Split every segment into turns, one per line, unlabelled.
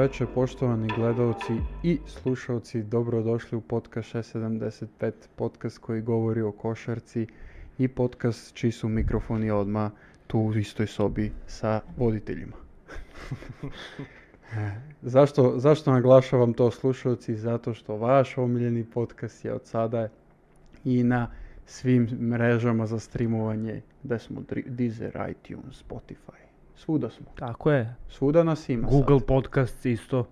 вечер, poštovani gledalci i slušalci. Dobrodošli u podcast 675, podcast koji govori o košarci i podcast čiji su mikrofoni odma tu u istoj sobi sa voditeljima. zašto, zašto naglašavam to slušalci? Zato što vaš omiljeni podcast je od sada i na svim mrežama za streamovanje, da smo dri- Deezer, iTunes, Spotify. Svuda smo.
Tako je.
Svuda nas ima sad.
Google Podcasts isto.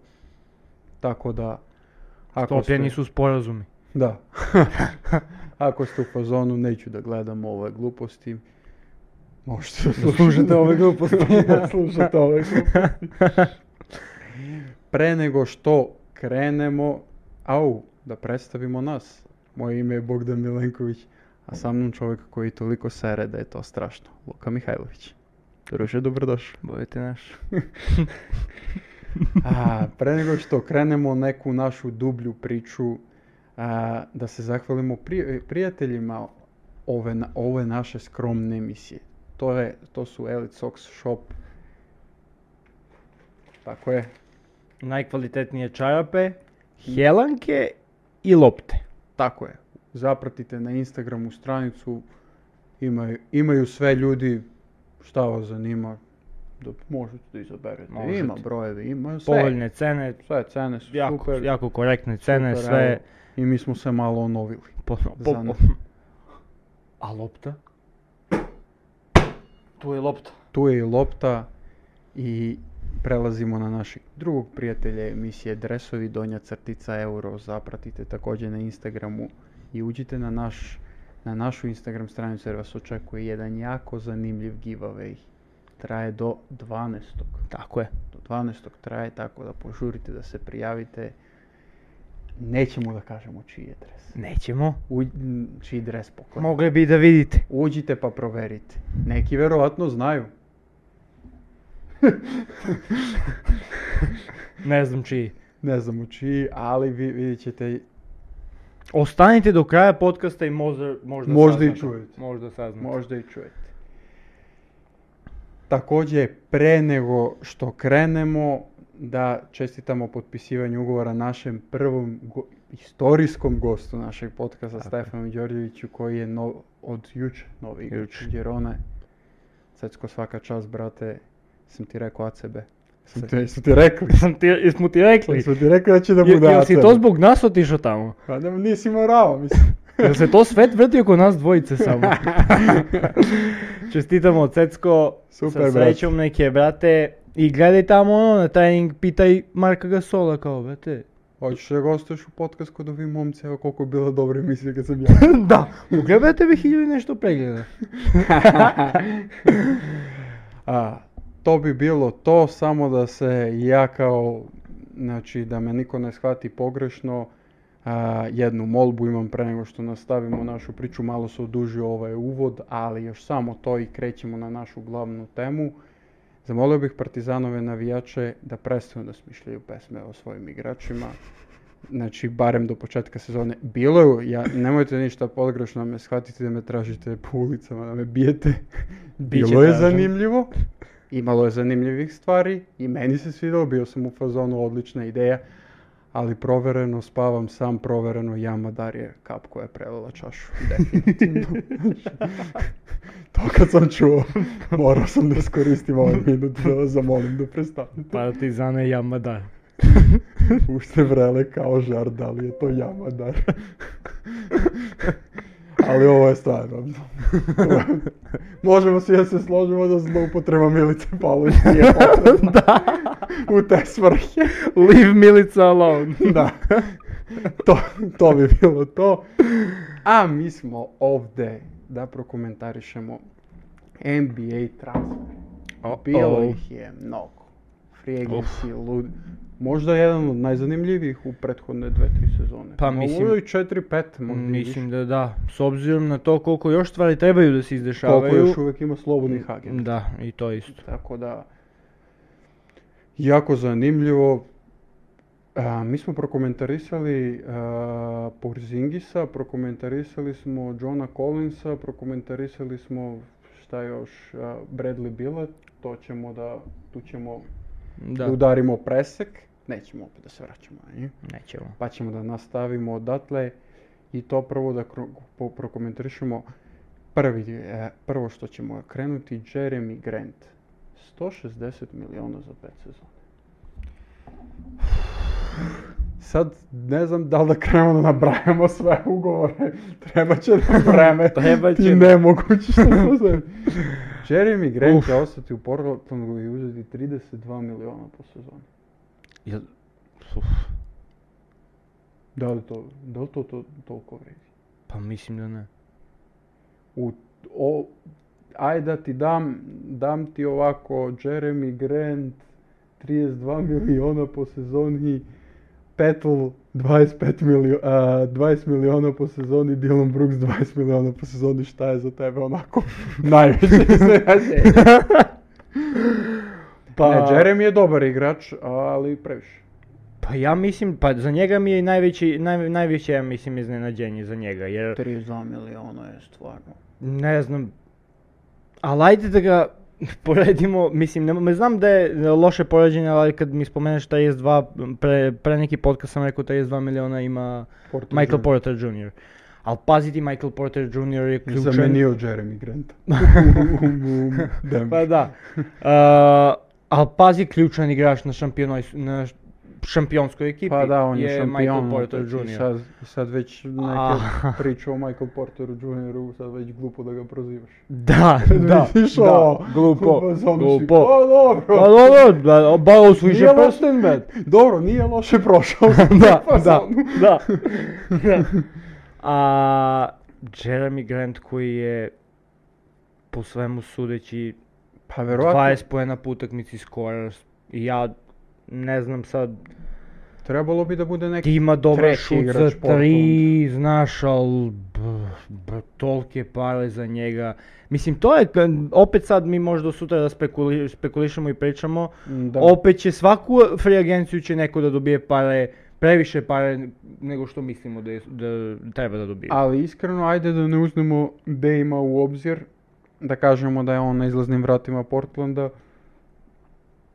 Tako da,
Sklopljeni
ste-
su sporazumi.
Da. ako ste u fazonu, neću da gledam ove gluposti, možete da slušate ove gluposti. da slušate ove gluposti. Pre nego što krenemo, au, da predstavimo nas. Moje ime je Bogdan Milenković, a sa mnom čovjek koji toliko sere da je to strašno. Luka Mihajlović. Druže, dobrodošao.
Bojete naš.
A, pre nego što krenemo neku našu dublju priču, a, da se zahvalimo pri- prijateljima ove, na- ove naše skromne emisije. To, je, to su Elite Sox Shop. Tako je.
Najkvalitetnije čarape, helanke i lopte.
Tako je. Zapratite na Instagramu stranicu. Imaju, imaju sve ljudi šta vas zanima. Da možete da izaberete.
Možete.
Ima brojevi, ima sve.
Povoljne cene,
Sve cene su
jako,
super.
jako korektne cene,
super,
sve...
evo. I mi smo se malo onovili.
Po,
po- po-
A lopta? Tu je lopta.
Tu je i lopta i prelazimo na našeg drugog prijatelja emisije Dresovi Donja Crtica Euro. Zapratite također na Instagramu i uđite na, naš, na našu Instagram stranicu jer vas očekuje jedan jako zanimljiv giveaway. Traje do 12.
Tako je.
Do 12. traje tako da požurite da se prijavite. Nećemo da kažemo čiji je dres.
Nećemo.
U, n- čiji dres poklanja.
Mogli bi da vidite.
Uđite pa proverite. Neki verovatno znaju.
Ne znam čiji.
Ne znam u čiji, ali vi vidjet ćete,
Ostanite do kraja podcasta i možda, možda,
Možda i
saznate.
čujete.
Možda saznate.
možda i čujete. Također, pre nego što krenemo, da čestitamo potpisivanje ugovora našem prvom go- istorijskom gostu našeg podcasta,
Tako je.
Stefanu Đorđeviću, koji je no, od juče novi igrač
Juče.
Girone. Cecko, svaka čast, brate, sam ti rekao ACB. Sam ti, su ti rekli?
Sam ti, jesmo ti rekli?
Sam ti rekao da ono. će da
Jel-
bude
Jel si
ACB.
to zbog nas otišao tamo?
Pa ne, nisi morao, mislim.
Jel se to svet vrti oko nas dvojice samo? Čestitamo Cecko,
Super,
sa srećom neke brate. I gledaj tamo ono na trening, pitaj Marka Gasola kao brate.
Hoćeš da gostuješ u podcast kod ovi momci, evo koliko je bila dobra emisija kad sam ja.
da, pogledaj tebe hiljadu i nešto pregleda.
A, to bi bilo to, samo da se ja kao, znači da me niko ne shvati pogrešno, a, jednu molbu imam pre nego što nastavimo našu priču, malo se odužio ovaj uvod, ali još samo to i krećemo na našu glavnu temu. Zamolio bih Partizanove navijače da prestanu da smišljaju pesme o svojim igračima. Znači, barem do početka sezone. Bilo je, ja, nemojte ništa pogrešno da me shvatiti da me tražite po ulicama, da me bijete. Bilo je
tražen.
zanimljivo. Imalo je zanimljivih stvari i meni se svidao, bio sam u fazonu odlična ideja, ali provereno spavam sam, provereno jama Darije kap koja je prelila čašu. Definitivno. to kad sam čuo, morao sam da iskoristim ovaj minut da vas zamolim da prestanete.
Partizane jama da.
Ušte vrele kao žar, da li je to jama dar? Ali ovo je stvarno. Možemo svi da se složimo da zloupotreba Milice Pavlović nije potrebna
da,
u te svrhe.
leave Milica alone.
Da. To, to bi bilo to. A mi smo ovde da prokomentarišemo NBA transfer. Bilo ih je mnogo. Free agency, lud... Možda jedan od najzanimljivijih u prethodne dve, tri sezone.
Pa,
Ma,
mislim-
Ovo je 4-5 možda i više.
Mislim da da, s obzirom na to koliko još stvari trebaju da se izdešavaju.
Koliko još uvijek ima slobodnih agenta.
Da, i to isto.
Tako da, jako zanimljivo. A, mi smo prokomentarisali a, Porzingisa, prokomentarisali smo Johna Collinsa, prokomentarisali smo šta još, a, Bradley Billa, to ćemo da, tu ćemo
Da.
da udarimo presek. nećemo opet da se vraćamo na nju.
Nećemo.
Pa ćemo da nastavimo odatle i to prvo da kro- po- prokomentarišemo prvi, e, prvo što ćemo krenuti Jeremy Grant. 160 miliona za pet sezona. Sad ne znam da li da krenemo da nabrajamo sve ugovore. Treba će nam vreme.
Treba će
I
nam.
nemoguće što smo se- Jeremy Grant će ostati u Portlandu i uzeti 32 miliona po sezoni.
Jel...
Da li to, da li to, to toliko vredi?
Pa mislim da ne.
u, o, ajde da ti dam, dam ti ovako Jeremy Grant 32 miliona po sezoni, Petl 25 milio, a, 20 miliona po sezoni, Dylan Brooks 20 miliona po sezoni, šta je za tebe onako najveće iznenađenje?
Pa-
Ne, Jeremy je dobar igrač, ali previše.
Pa ja mislim, pa za njega mi je i najveći, naj, najveće ja mislim iznenađenje za njega, jer
32 miliona je stvarno.
ne znam, ali ajde da ga poredimo, mislim, ne, ne znam da je loše poređenje, ali kad mi spomeneš taj S2, pre, pre neki podcast sam rekao taj S2 miliona ima
Porter
Michael
Jr.
Porter Jr. Ali pazi ti, Michael Porter Jr. je ključan.
Zamenio Jeremy Grant.
Pa da. ali pazi, ključan igrač na, šampionoj, na š- šampionskoj ekipi
Pa da, on je,
je, Michael
šampion.
Porter
znači,
Jr.
Sad, sad već neke
A.
priče o Michael Porteru Jr. sad već glupo da ga prozivaš.
Da, da,
Misliš,
da,
o,
glupo,
u fazonu si,
glupo.
Pa dobro.
Pa dobro, da, ba, osviše
Nije loš-
prsten, brat.
Dobro, nije loše prošao. Pa sam u
Da, da,
fazonu.
da. da. A, Jeremy Grant koji je po svemu sudeći
Pa verovatno
20 poena po utakmici skorar. I Ja ne znam sad,
trebalo bi da bude neki...
ti ima dobar
treći
šut za
igrač
tri, znaš, ali tolke pare za njega. Mislim, to je, k- opet sad mi možda sutra da spekuli- spekulišemo i pričamo,
m, Da,
opet će svaku free agenciju će neko da dobije pare, previše pare nego što mislimo da, je, da treba da dobije.
ali iskreno, ajde da ne uzmemo Dejma ima u obzir. Da kažemo da je on na izlaznim vratima Portlanda.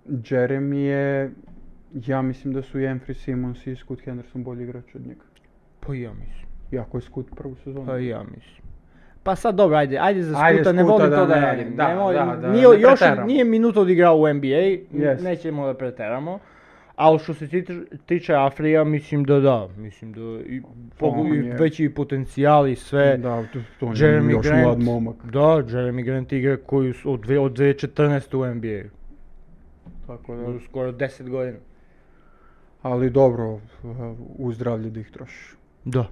Jeremy je... Ja mislim da su i Enfrey Simons i Scoot Henderson bolji igrači od njega.
pa ja mislim.
Iako je Scoot prvu sezonu.
Pa ja mislim. Pa sad dobro, ajde, ajde za skuta,
Ajde, Scoota
ne volim
da
to da,
ne-
radim.
da,
ne volim-
da, da,
nije,
ne
još
preteramo.
nije minuta odigrao u NBA, n-
Jest.
nećemo da preteramo. Ali što se tiče, tiče Afrija, mislim da da, mislim da i, pogu-
on
i
je-
veći potencijal i sve.
Da, to, to je
E, Jeremy
još
Grant.
mlad momak.
Da, Jeremy Grant igra koju su od, dve, od 2014. u NBA.
Tako da,
-u. Skoro 10 godina.
ali dobro, u zdravlje da ih trošiš.
Da.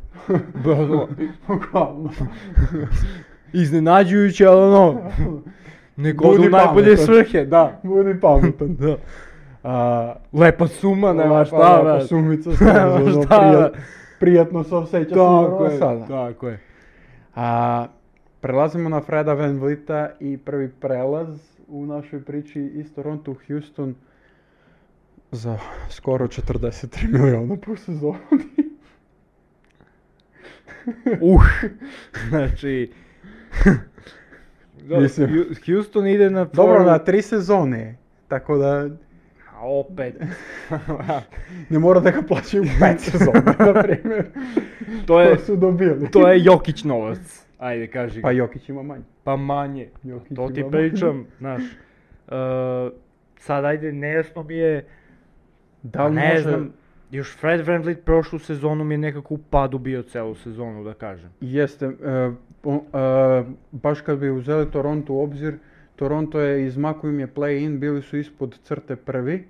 Bro, ono,
Uglavnom.
Iznenađujuće, ali ono... Nego
Budi
u najbolje
pametan.
svrhe, da.
Budi pametan.
da.
A,
Lepa suma, nema šta,
lepa
brate.
Sumica, stvarno, ono,
Šta, Ono
prija-
brate.
prijatno se osjeća
Tako je,
sada.
tako je.
A, prelazimo na Freda Van Vlita i prvi prelaz u našoj priči iz Toronto u Houston za skoro 43 miliona po sezoni.
Uh, znači... Dobro,
Mislim.
Hu- Houston ide na...
Dobro,
foru-
na tri sezone, tako da
A opet.
ne mora da ga plaćaju pet sezona, na primjer.
to je,
To su dobili.
to je Jokić novac. Ajde, kaži.
Pa Jokić ima manje.
Pa manje.
Jokić
to ti
ima manje.
pričam, znaš. E, sad ajde, nejasno mi je,
Da li
Pa ne
može-
znam, još Fred VanVleet prošlu sezonu mi je nekako u padu bio celu sezonu, da kažem.
Jeste, e, o- e, baš kad bi uzeli Toronto u obzir, Toronto je izmako im je play-in, bili su ispod crte prvi.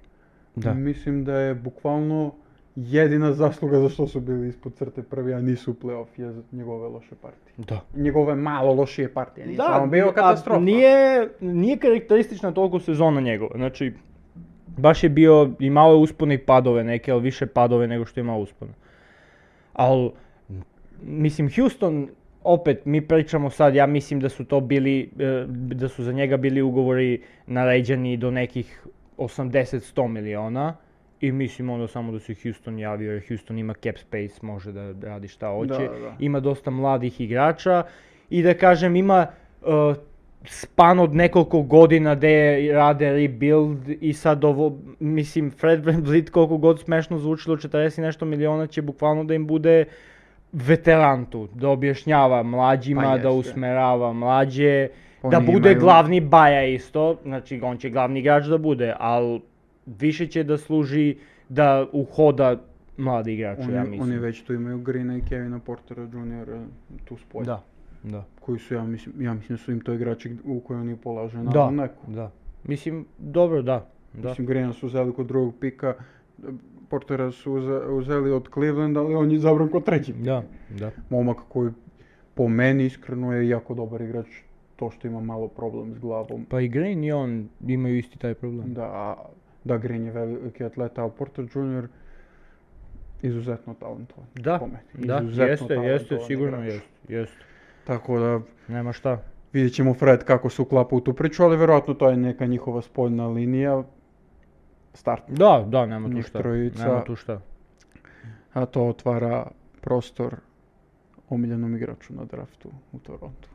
Da.
Mislim da je bukvalno jedina zasluga zašto su bili ispod crte prvi, a nisu u play-off, je njegove loše partije.
Da.
Njegove malo lošije partije, nije samo bio katastrofa.
nije, nije karakteristična toliko sezona njegova, znači, baš je bio, imao je uspone i padove neke, ali više padove nego što je imao uspone. Ali, mislim, Houston, opet, mi pričamo sad, ja mislim da su to bili, e, da su za njega bili ugovori naređeni do nekih 80-100 miliona. I mislim onda samo da se Houston javio, jer Houston ima cap space, može da radi šta hoće.
da, da.
Ima dosta mladih igrača i da kažem ima e, спан од неколку година де раде ребилд и сад ово, мислим, Фред Вемблит, колку год смешно звучило, 40 и нешто милиона ќе буквално да им буде ветеран ту, да објашњава млаđima,
Па,
да
јесте.
усмерава млаđе, да
Они
буде
имају-
главни баја исто, значи он ќе главни играч да буде, ал више ќе да служи да ухода млади играчи, ја
Они, они
мислам.
веќе ту имају Грина и Кевина Портера Джуниора ту спој.
Да, да.
Кои су, ја мислим, ја мислим су им тој играчи у кој они полаже на
Да.
неко.
Да. Мислим, добро, да. Да.
Мислим, Грина су узели код другог пика, Портера су узе- узели од Кливленд, али он је забран код трети.
Да, да.
Момак кој по мене искрено е јако добар играч, то што има мало проблем с главом.
Па и Грин и он имају исти тај проблем.
Да, а- да Грин е велики атлет, а Портер Джуниор изузетно талентован.
Да,
по мене.
да,
Изузетно
јесте, јесте,
талентован
сигурно
играч.
јесте, јесте.
Така да
Нема шта.
Видjet ćemo Fred kako se uklapa u tu priču, ali verovatno to je neka njihova spoljna linija. Start.
Да, да, нема ту
Njih
шта.
тројица.
Нема ту шта.
A to otvara prostor omiljenom igraču na draftu u Torontu.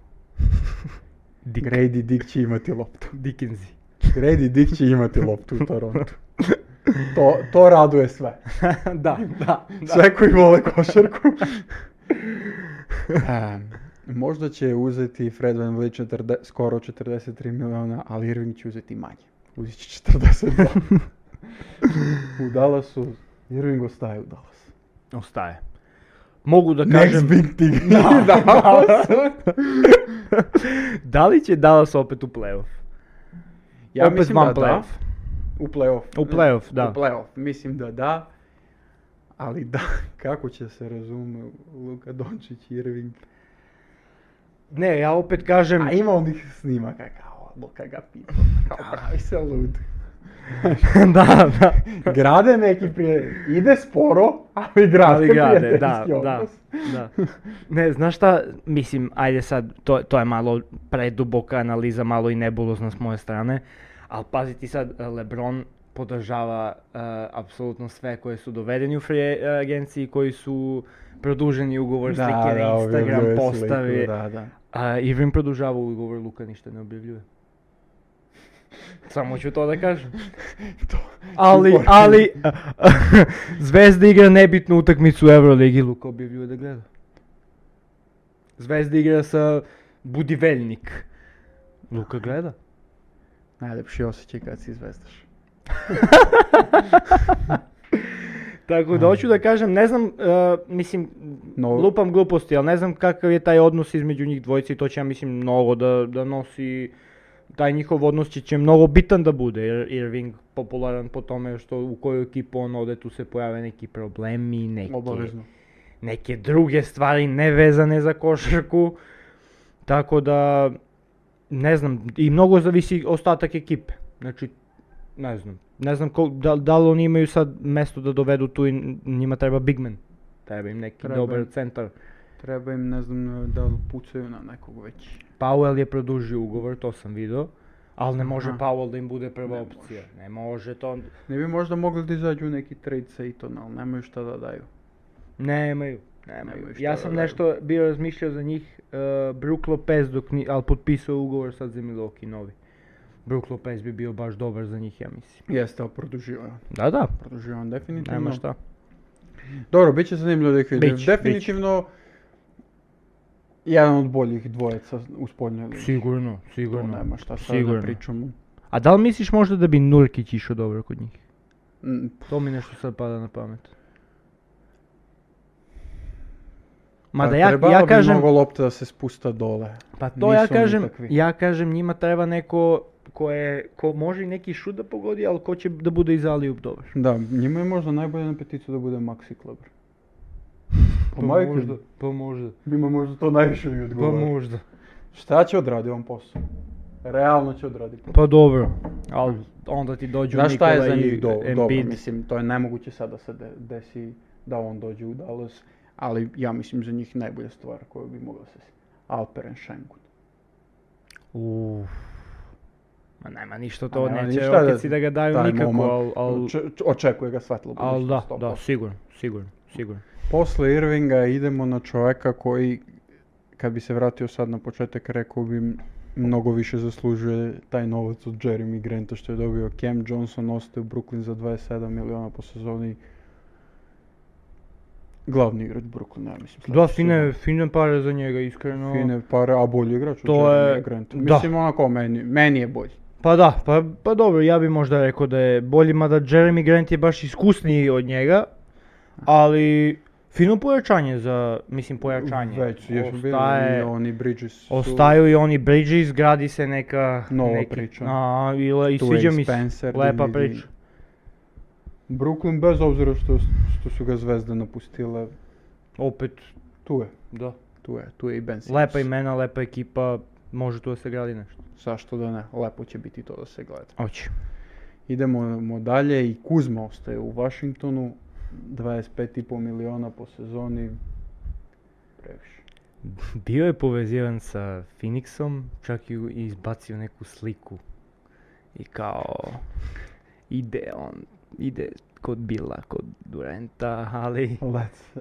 Grady Dick će imati loptu.
Дикензи.
Grady Dick će imati loptu u Torontu. To, to raduje sve.
да, да, да.
Sve koji vole košarku. E, možda će uzeti Fred Van skoro 43 miliona, ali Irving će uzeti manje. Uzet će 42. u Dallasu, Irving ostaje u Dallasu.
Остае. Могу да кажем...
Next big thing. Dallas.
Дали ќе Далас опет у плейоф?
Ja
Opet
mislim
van
da da.
playoff.
U playoff.
U playoff, da.
U playoff, mislim da da. Ali da, kako će se razume Luka Dončić i Irving.
Не, ја опет кажем...
A ima onih snimaka kao Luka ga pita, kao pravi se lud.
да, да.
grade neki prije, ide sporo, ali grade
Ali граде, да,
prijateljski
да,
odnos.
да. Не, знаш шта, мислим, ајде сад, то, тоа е мало предубока анализа, мало и небулозна с моја страна, ал пази ти сад, е, Леброн подржава е, апсолутно све кои су доведени у фри е, агенции, кои су продужени уговор,
Da,
слике
da,
на
objavljuje
Инстаграм,
sliku,
постави.
Da, da.
А, Ирвин продолжава уговор, Лука ништо не објавljuje. Само ќе тоа да кажам.
To,
Али,
Чупор.
али, Звезда игра небитну утакмицу у Евролиги, Лука објавljuje да гледа. Звезда игра са будивелник. Лука гледа.
Najlepši osjećaj kad si izvezdaš.
Така да hoću да кажам, не знам, е, мислим,
Но-
лупам глупости, ал не знам какав е тај однос измеѓу нив двојца и тоа ќе ја мислим многу да да носи тај нихов однос ќе ќе многу битен да буде. Ир- Ирвинг популарен по томе што у кој екипа он оде ту се појаве неки проблеми, неки
Obavezno.
неке друге ствари невезане за кошарку. Така да не знам, и многу зависи остатак екипе. Значи не знам. Не знам кол, да, дали они имају сад место да доведу ту и н- нима треба бигмен. Треба им неки
Треба
добар
им.
центар.
Treba im, ne znam, da pucaju na nekog već.
Пауел ја продолжи уговор, то сам видео. Ал не може
Аха.
Пауел да им буде прва
Не
опција. Не може то.
Ne bi možda mogli da izađu u neki trade sa Iton, ali nemaju šta da daju.
Не имају.
Немају
Немају.
шта
Ја
да
сам
дају.
нешто био размишљао за нив е, Брук Лопез док ни, ал потписува уговор сад за Милоки нови. Брук Лопез би био баш добар за нив, ја мислим.
Jeste, ali produžio je on.
Да, да.
Produžio je on definitivno.
Нема шта.
Dobro, bit će zanimljivo da ih vidim.
Bić,
definitivno, jedan od boljih dvojeca u spoljnoj liniji.
Сигурно,
To
сигурно.
nema šta sad da
Сигурно.
pričamo.
А дал мислиш можда да би Нуркиќ ишо добро код нив?
Mm,
То ми нешто сад пада на памет.
Па,
Мада ја,
требало
ја
би
кажам,
Многу лопта да се спуста доле.
Па тоа ја
Нису ни
кажем,
такви.
ја кажем нима треба неко кое ко може и неки шут да погоди, ал кој ќе да буде и за алијуп добар.
Да, нима е можда најбоље на петицу да буде Макси Клебер. Па мајка
може,
ми.
па може,
Нима можда то највише ми
па
одговора.
може.
Шта ќе одради он посол? Реално ќе одради посол.
Па добро, ал онда ти дојде
Знаеш шта е за
и
нив до- добро?
Ембид.
Мислим, тоа е најмогуќе сад да се де- деси да он дојде у Далас, али ја мислим за нив најбоља ствар која би могла се си. Алперен Шенгун.
Уф. Ма нема ништо тоа,
нема
не ќе
ништа да-
рокици да, да ga
тај
дају никако,
момак,
ал, ал,
Оч- Очекува га светло
ал да,
будуќност,
да,
100%.
сигурно, сигурно, сигурно.
После Ирвинга идемо на човека кој, кад би се вратио сад на почеток, рекол би Mnogo više zaslužuje taj novac od Jeremy Granta što je dobio. Cam Johnson ostaje u Brooklyn za 27 miliona po sezoni. Glavni igrač Brooklyna, ja mislim.
Da,
sledeće
fine, fine pare za njega, iskreno.
sezone. Fine pare, a bolji igrač od
To
Jeremy
je-
Granta.
da.
Mislim, onako, meni, meni je bolji.
Pa da, pa, pa dobro, ja bi možda rekao da je bolji, mada Jeremy Grant je baš iskusniji od njega, ali fino pojačanje za, mislim pojačanje.
Već, jesu bili i
Ostaje-
oni Bridges su...
Ostaju i oni Bridges, gradi se neka...
Nova
neki-
priča.
A, i, le- i
Tu
sviđa
je
mi se,
Spencer,
lepa
Dinwiddie.
priča.
Brooklyn, bez obzira što, što su ga zvezde napustile,
Opet,
tu je.
da.
Tu je, tu je i Ben Simmons.
Lepa imena, lepa ekipa, može tu da se gradi nešto.
Zašto da ne? Lepo će biti to da se gleda.
Oći.
Idemo mo dalje i Kuzma ostaje u Washingtonu. 25,5 miliona po sezoni. Previše.
Bio je povezivan sa Phoenixom, čak i u- i izbacio neku sliku. I kao, ide on, ide kod Bila, kod Durenta, ali...
Let's,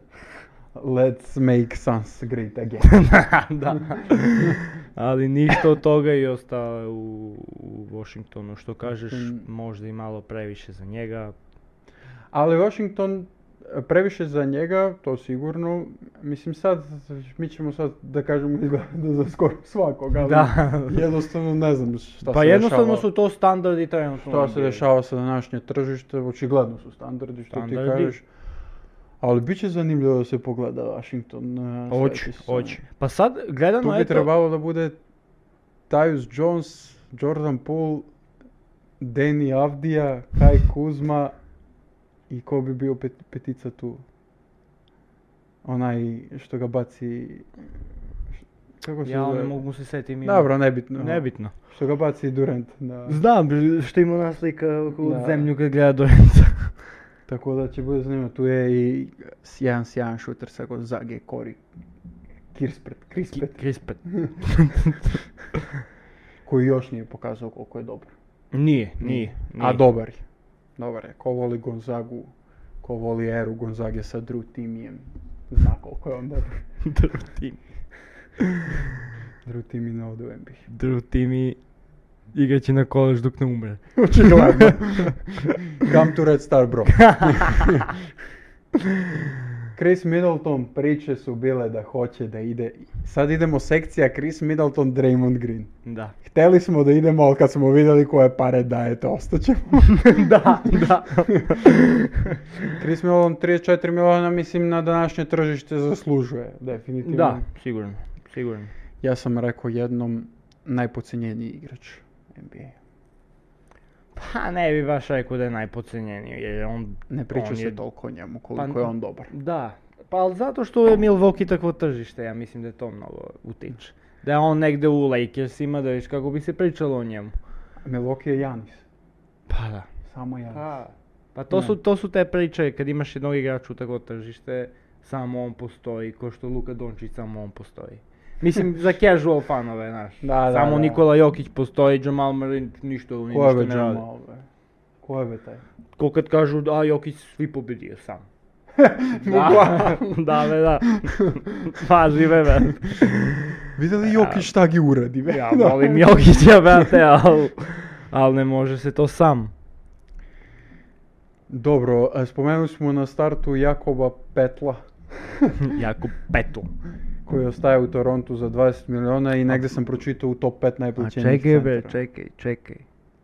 let's make Suns great again.
da. ali ništa od toga i ostao je u, u Washingtonu, što kažeš,
Mm.
možda i malo previše za njega.
Ali Washington e, previše za njega, to sigurno. Mislim sad, mi ćemo sad da kažemo izgleda da za skoro svakog, ali
Da.
jednostavno ne znam šta
pa
se
jednostavno
dešava.
su to standardi trenutno.
Šta
na
se
NBA.
dešava sa današnje tržište, očigledno su standardi što
Standardi.
ti kažeš. Ali bit će zanimljivo da se pogleda Washington. e,
Oće,
sledeće sezone.
oće. Pa sad, gledano,
Tu bi
eto,
trebalo da bude Tyus Jones, Jordan Poole, Danny Avdija, Kai Kuzma i ko bi bio pet- petica tu? Onaj što ga baci... š- Kako se
ja ne
zove?
mogu se setim imena.
Dobro, nebitno.
Nebitno.
Što ga baci Durant. Da.
Znam br- što ima ona slika okolo
Da.
zemlju kad gleda Dorenca.
Tako da će bude zanimljivo. Tu je i sjajan, sjajan šuter sa Gonzage, Kori. Kirspet, Krispet,
Krispet.
koji još nije pokazao koliko je dobar.
Nije, nije.
A
nije.
dobar je. Dobar je. Ko voli Gonzagu, ko voli Eru Gonzage sa Drew Timijem, zna koliko je on dobar.
Drutim.
Drew Timi ne ode u NBA.
Drutimi igraće na kolež dok ne umre.
Očigledno. Come to Red Star, bro. Chris Middleton priče su bile da hoće da ide. Sad idemo sekcija Chris Middleton, Draymond Green.
Da.
Hteli smo da idemo, ali kad smo vidjeli koje pare dajete, ostaćemo.
da, da.
Chris Middleton 34 miliona, mislim, na današnje tržište zaslužuje, definitivno.
da, sigurno. Sigurno.
Ja sam rekao jednom, najpocijenjeniji igrač NBA.
Pa ne bi baš rekao da je najpocenjeniji, jer je on...
Ne priča
on
se
je-
toliko o njemu, koliko
Pa-
je on dobar.
Da. Pa ali zato što je Milwaukee takvo tržište, ja mislim da je to mnogo utiče. Da je on negde u Lakersima, da viš kako bi se pričalo o njemu.
Milwaukee je Janis.
Pa da.
Samo Janis.
Pa, pa to,
Ne.
su, to su te priče kad imaš jednog igrača u takvo tržište, samo on postoji, ko što Luka Dončić samo on postoji. Mislim, za casual fanove, znaš.
Pa Da, da,
samo
da.
Nikola Jokić postoji, Jamal Murray ništa, oni
Ko je
ništa
be
ne radi.
Jamal, be? Ko je be taj?
Ko kad kažu, a Jokić svi pobedio sam. da, da, be, da. Pa, žive, be.
Vidjeli Jokić šta gi uradi, be?
Ja
Da.
volim Jokića, brate, ali... Al ne može se to sam.
Dobro, e, spomenuli smo na startu Jakoba Petla,
Jako petu.
koji ostaje u Torontu za 20 miliona i negdje sam pročitao u top 5
A
najplaćenijih
čekaj bre,
centara.
čekaj, čekaj.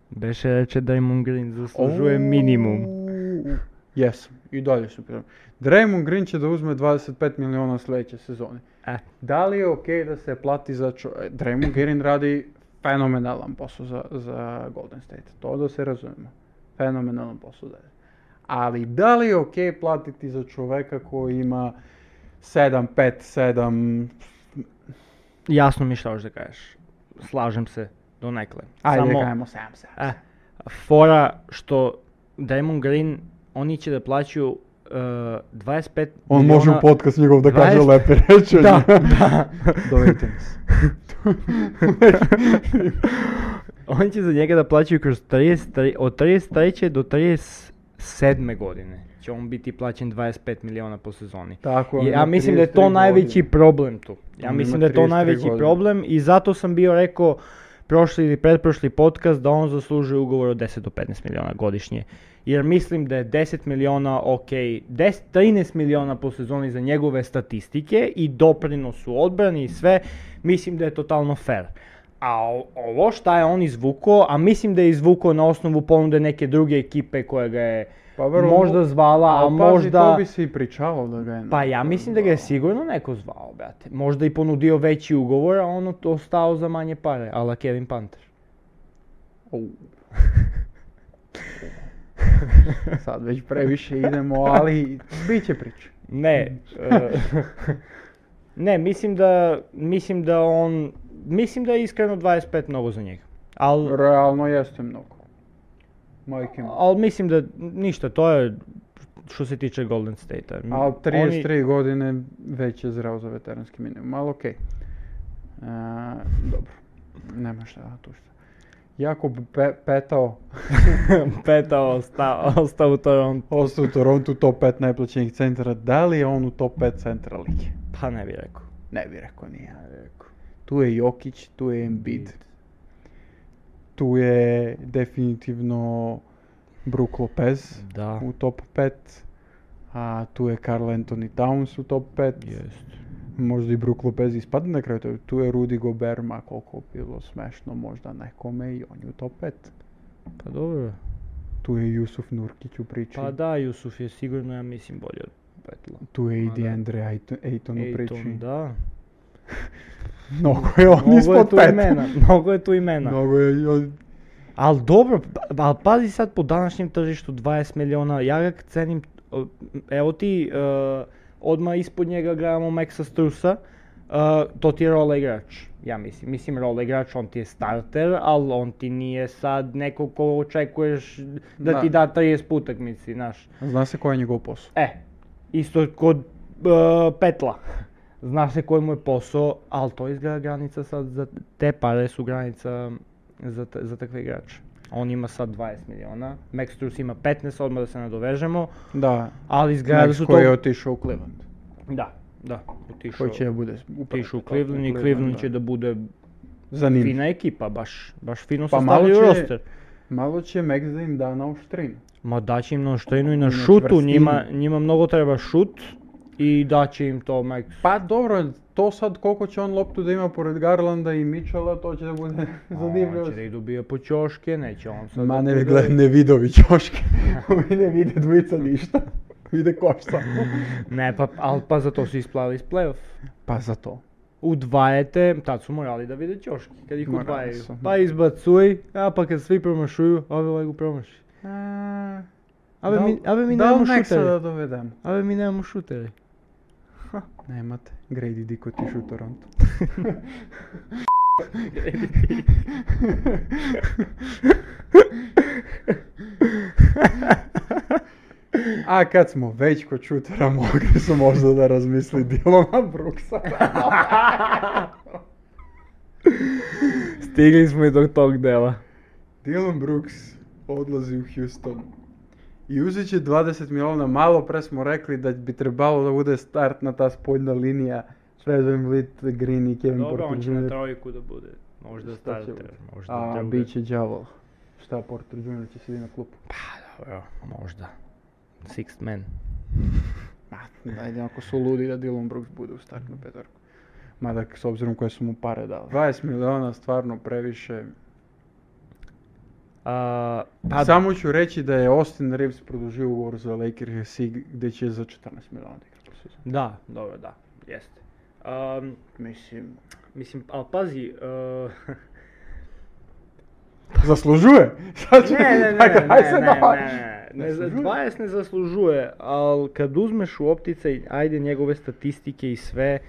Beše reče Draymond Green zaslužuje minimum.
Ouuu. Jesam, i dalje su prema. Draymond Green će da uzme 25 miliona sljedeće sezone.
E.
Da li je okej da se plati za čo... e, Draymond Green radi fenomenalan posao za, za Golden State. To da se razumemo. Fenomenalan posao da je. Ali da li je okej platiti za čoveka koji ima 7, 5, 7...
Jasno mi šta hoćeš da kažeš. Slažem se do nekle.
Ajde,
Samo,
kajemo 7, 7.
e, fora što Draymond Green, oni će da plaćaju e, 25
On može u
miliona-
podcast njegov da kaže
20
lepe reči.
ono- Da, da.
Dovedite nas.
Oni će za njega da plaćaju kroz 33, od 33. do 37. godine. Će on biti plaćen 25 miliona po sezoni.
Tako, on
Ja
ima
mislim da je
33
to najveći
godine.
problem tu.
On
Ja
ima
mislim da je to
33
najveći
Mm-hmm. godine.
problem i zato sam bio rekao prošli ili pretprošli podcast da on zaslužuje ugovor od 10 do 15 miliona godišnje. Jer mislim da je 10 miliona ok, 10, 13 miliona po sezoni za njegove statistike i doprinos u odbrani i sve, mislim da je totalno fair. A o- ovo šta je on izvukao, a mislim da je izvukao na osnovu ponude neke druge ekipe koja ga je
Pa vrlo-
možda zvala, a
Al pazi,
možda...
to bi si i pričavao da ga je...
Pa ja mislim da ga je sigurno neko zvao, brate. Možda i ponudio veći ugovor, a ono to ostao za manje pare, ala Kevin Panter.
Au. Sad već previše idemo, ali bit će priča.
Ne, e, ne, mislim da, mislim da on, mislim da je iskreno 25 mnogo za njega. Al,
Realno jeste mnogo. Majke mi.
al mislim da ništa, to je što se tiče Golden State-a. M-
Ali
oni-
33 godine već je zdrav za veteranski minimum, ali okej. A, dobro, nema šta tu šta. Jako bi pe- petao,
Peta ostao, ostao u Toronto.
ostao u Torontu top 5 najplaćenih centara, da li je on u top 5 centra lige?
Pa ne bi rekao.
Ne bi rekao nije. Tu je Jokić, tu je Embiid. Tu je definitivno Brook Lopez
Da,
u top 5. A tu je Carl Anthony Towns u top 5.
jest.
Možda i Brook Lopez ispadne na kraju. to- Tu je Rudy Gobert, ma koliko bilo smešno možda nekome i on je u top 5.
Pa dobro.
Tu je Jusuf Nurkić u priči.
Pa da, Jusuf je sigurno, ja mislim, bolje od Petla.
Tu je i
Ma da.
DeAndre Ayton, Ayton u priči.
Ejton, da.
Mnogo je on
Mnogo je
ispod
tu
5.
imena, mnogo je tu imena.
Mnogo je on-
Ali dobro, pa- ali pazi sad po današnjem tržištu 20 miliona, ja ga cenim, o, evo ti, e, odmah ispod njega gledamo Maxa Strusa, e, to ti je rola igrač, ja mislim. Mislim rola igrač, on ti je starter, ali on ti nije sad neko ko očekuješ da,
Da.
ti da 30 putak, misli, znaš.
Zna se koji je njegov posao.
E, isto kod e, Petla. Zna se koji mu je posao, ali to izgleda granica sad, za te pare su granica mm, za, ta- za takve igrače. On ima sad 20 miliona, Max Strus ima 15, odmah da se nadovežemo,
Da,
ali izgleda da
Max
su to...
koji je otišao u Cleveland.
Da, da, otišao.
Koji će Pa, da bude
Otišao u Cleveland i Cleveland će da bude
Zanimljiv.
fina ekipa, baš, baš fino
Pa
pa
malo
sastavljaju
će-
roster.
Malo će Max da im da na oštrinu.
Ma daće im na štrinu i na
Na
šutu,
čvrstinu.
njima, njima mnogo treba šut i daće im to Max
Pa dobro, to sad koliko će on loptu da ima pored Garlanda i Mitchella, to će da bude zanimljivo.
Zanimljivo. Će da ih dobija po ćoške, neće on sad...
Ma
da
ne,
bude-
gled, ne vidovi čoške. Ovi ne vide dvojica ništa. Vide koš samo.
Ne, pa, ali pa zato su isplali iz playoff.
Pa za to.
Udvajete, tad su morali da vide ćoške, kad ih
Morali
udvajaju.
su.
Pa izbacuj, a pa kad svi promašuju, a ovaj go promaši. Abе
Da-
mi, abе mi
da li
nemamo
E, Maxa
šutere.
da dovedemo?
Abе mi nemamo šutere.
Nemate. Grady Dick otišao u Toronto. A kad smo već kod šutera, mogli su možda da razmisli Dilona Brooksa.
Stigli smo i do tog dela.
Dylan Brooks odlazi u Houston. I uzet će 20 miliona, malo pre smo rekli da bi trebalo da bude startna ta spoljna linija. Trezor Lit, Green i Kevin
Dobro, on
Porter
će na
Jr.
trojku da bude. Možda
Šta će
starter,
biti?
možda
A,
druga.
bit će đavol. Šta Porter Jr. će sedi na klupu?
Dobro, možda. Sixth man.
Ma, ajde, ako su ludi da Dylan Brooks bude u startnu petorku. Mada, s obzirom koje su mu pare dali. 20 miliona stvarno previše.
A, pa
Samo ću reći da je Austin Reeves produžio ugovor za Lakers i gdje će za 14 miliona da igra po sezoni.
Da, dobro, da, jeste. Am,
Mislim,
mislim, ali pazi, e,
Zaslužuje! Sad će-
ne, ne, ne,
Dakle,
ne,
aj se
ne,
da-
ne, ne, za
Zaslužuje.
20 ne zaslužuje, ali kad uzmeš u opticaj, ajde njegove statistike i sve,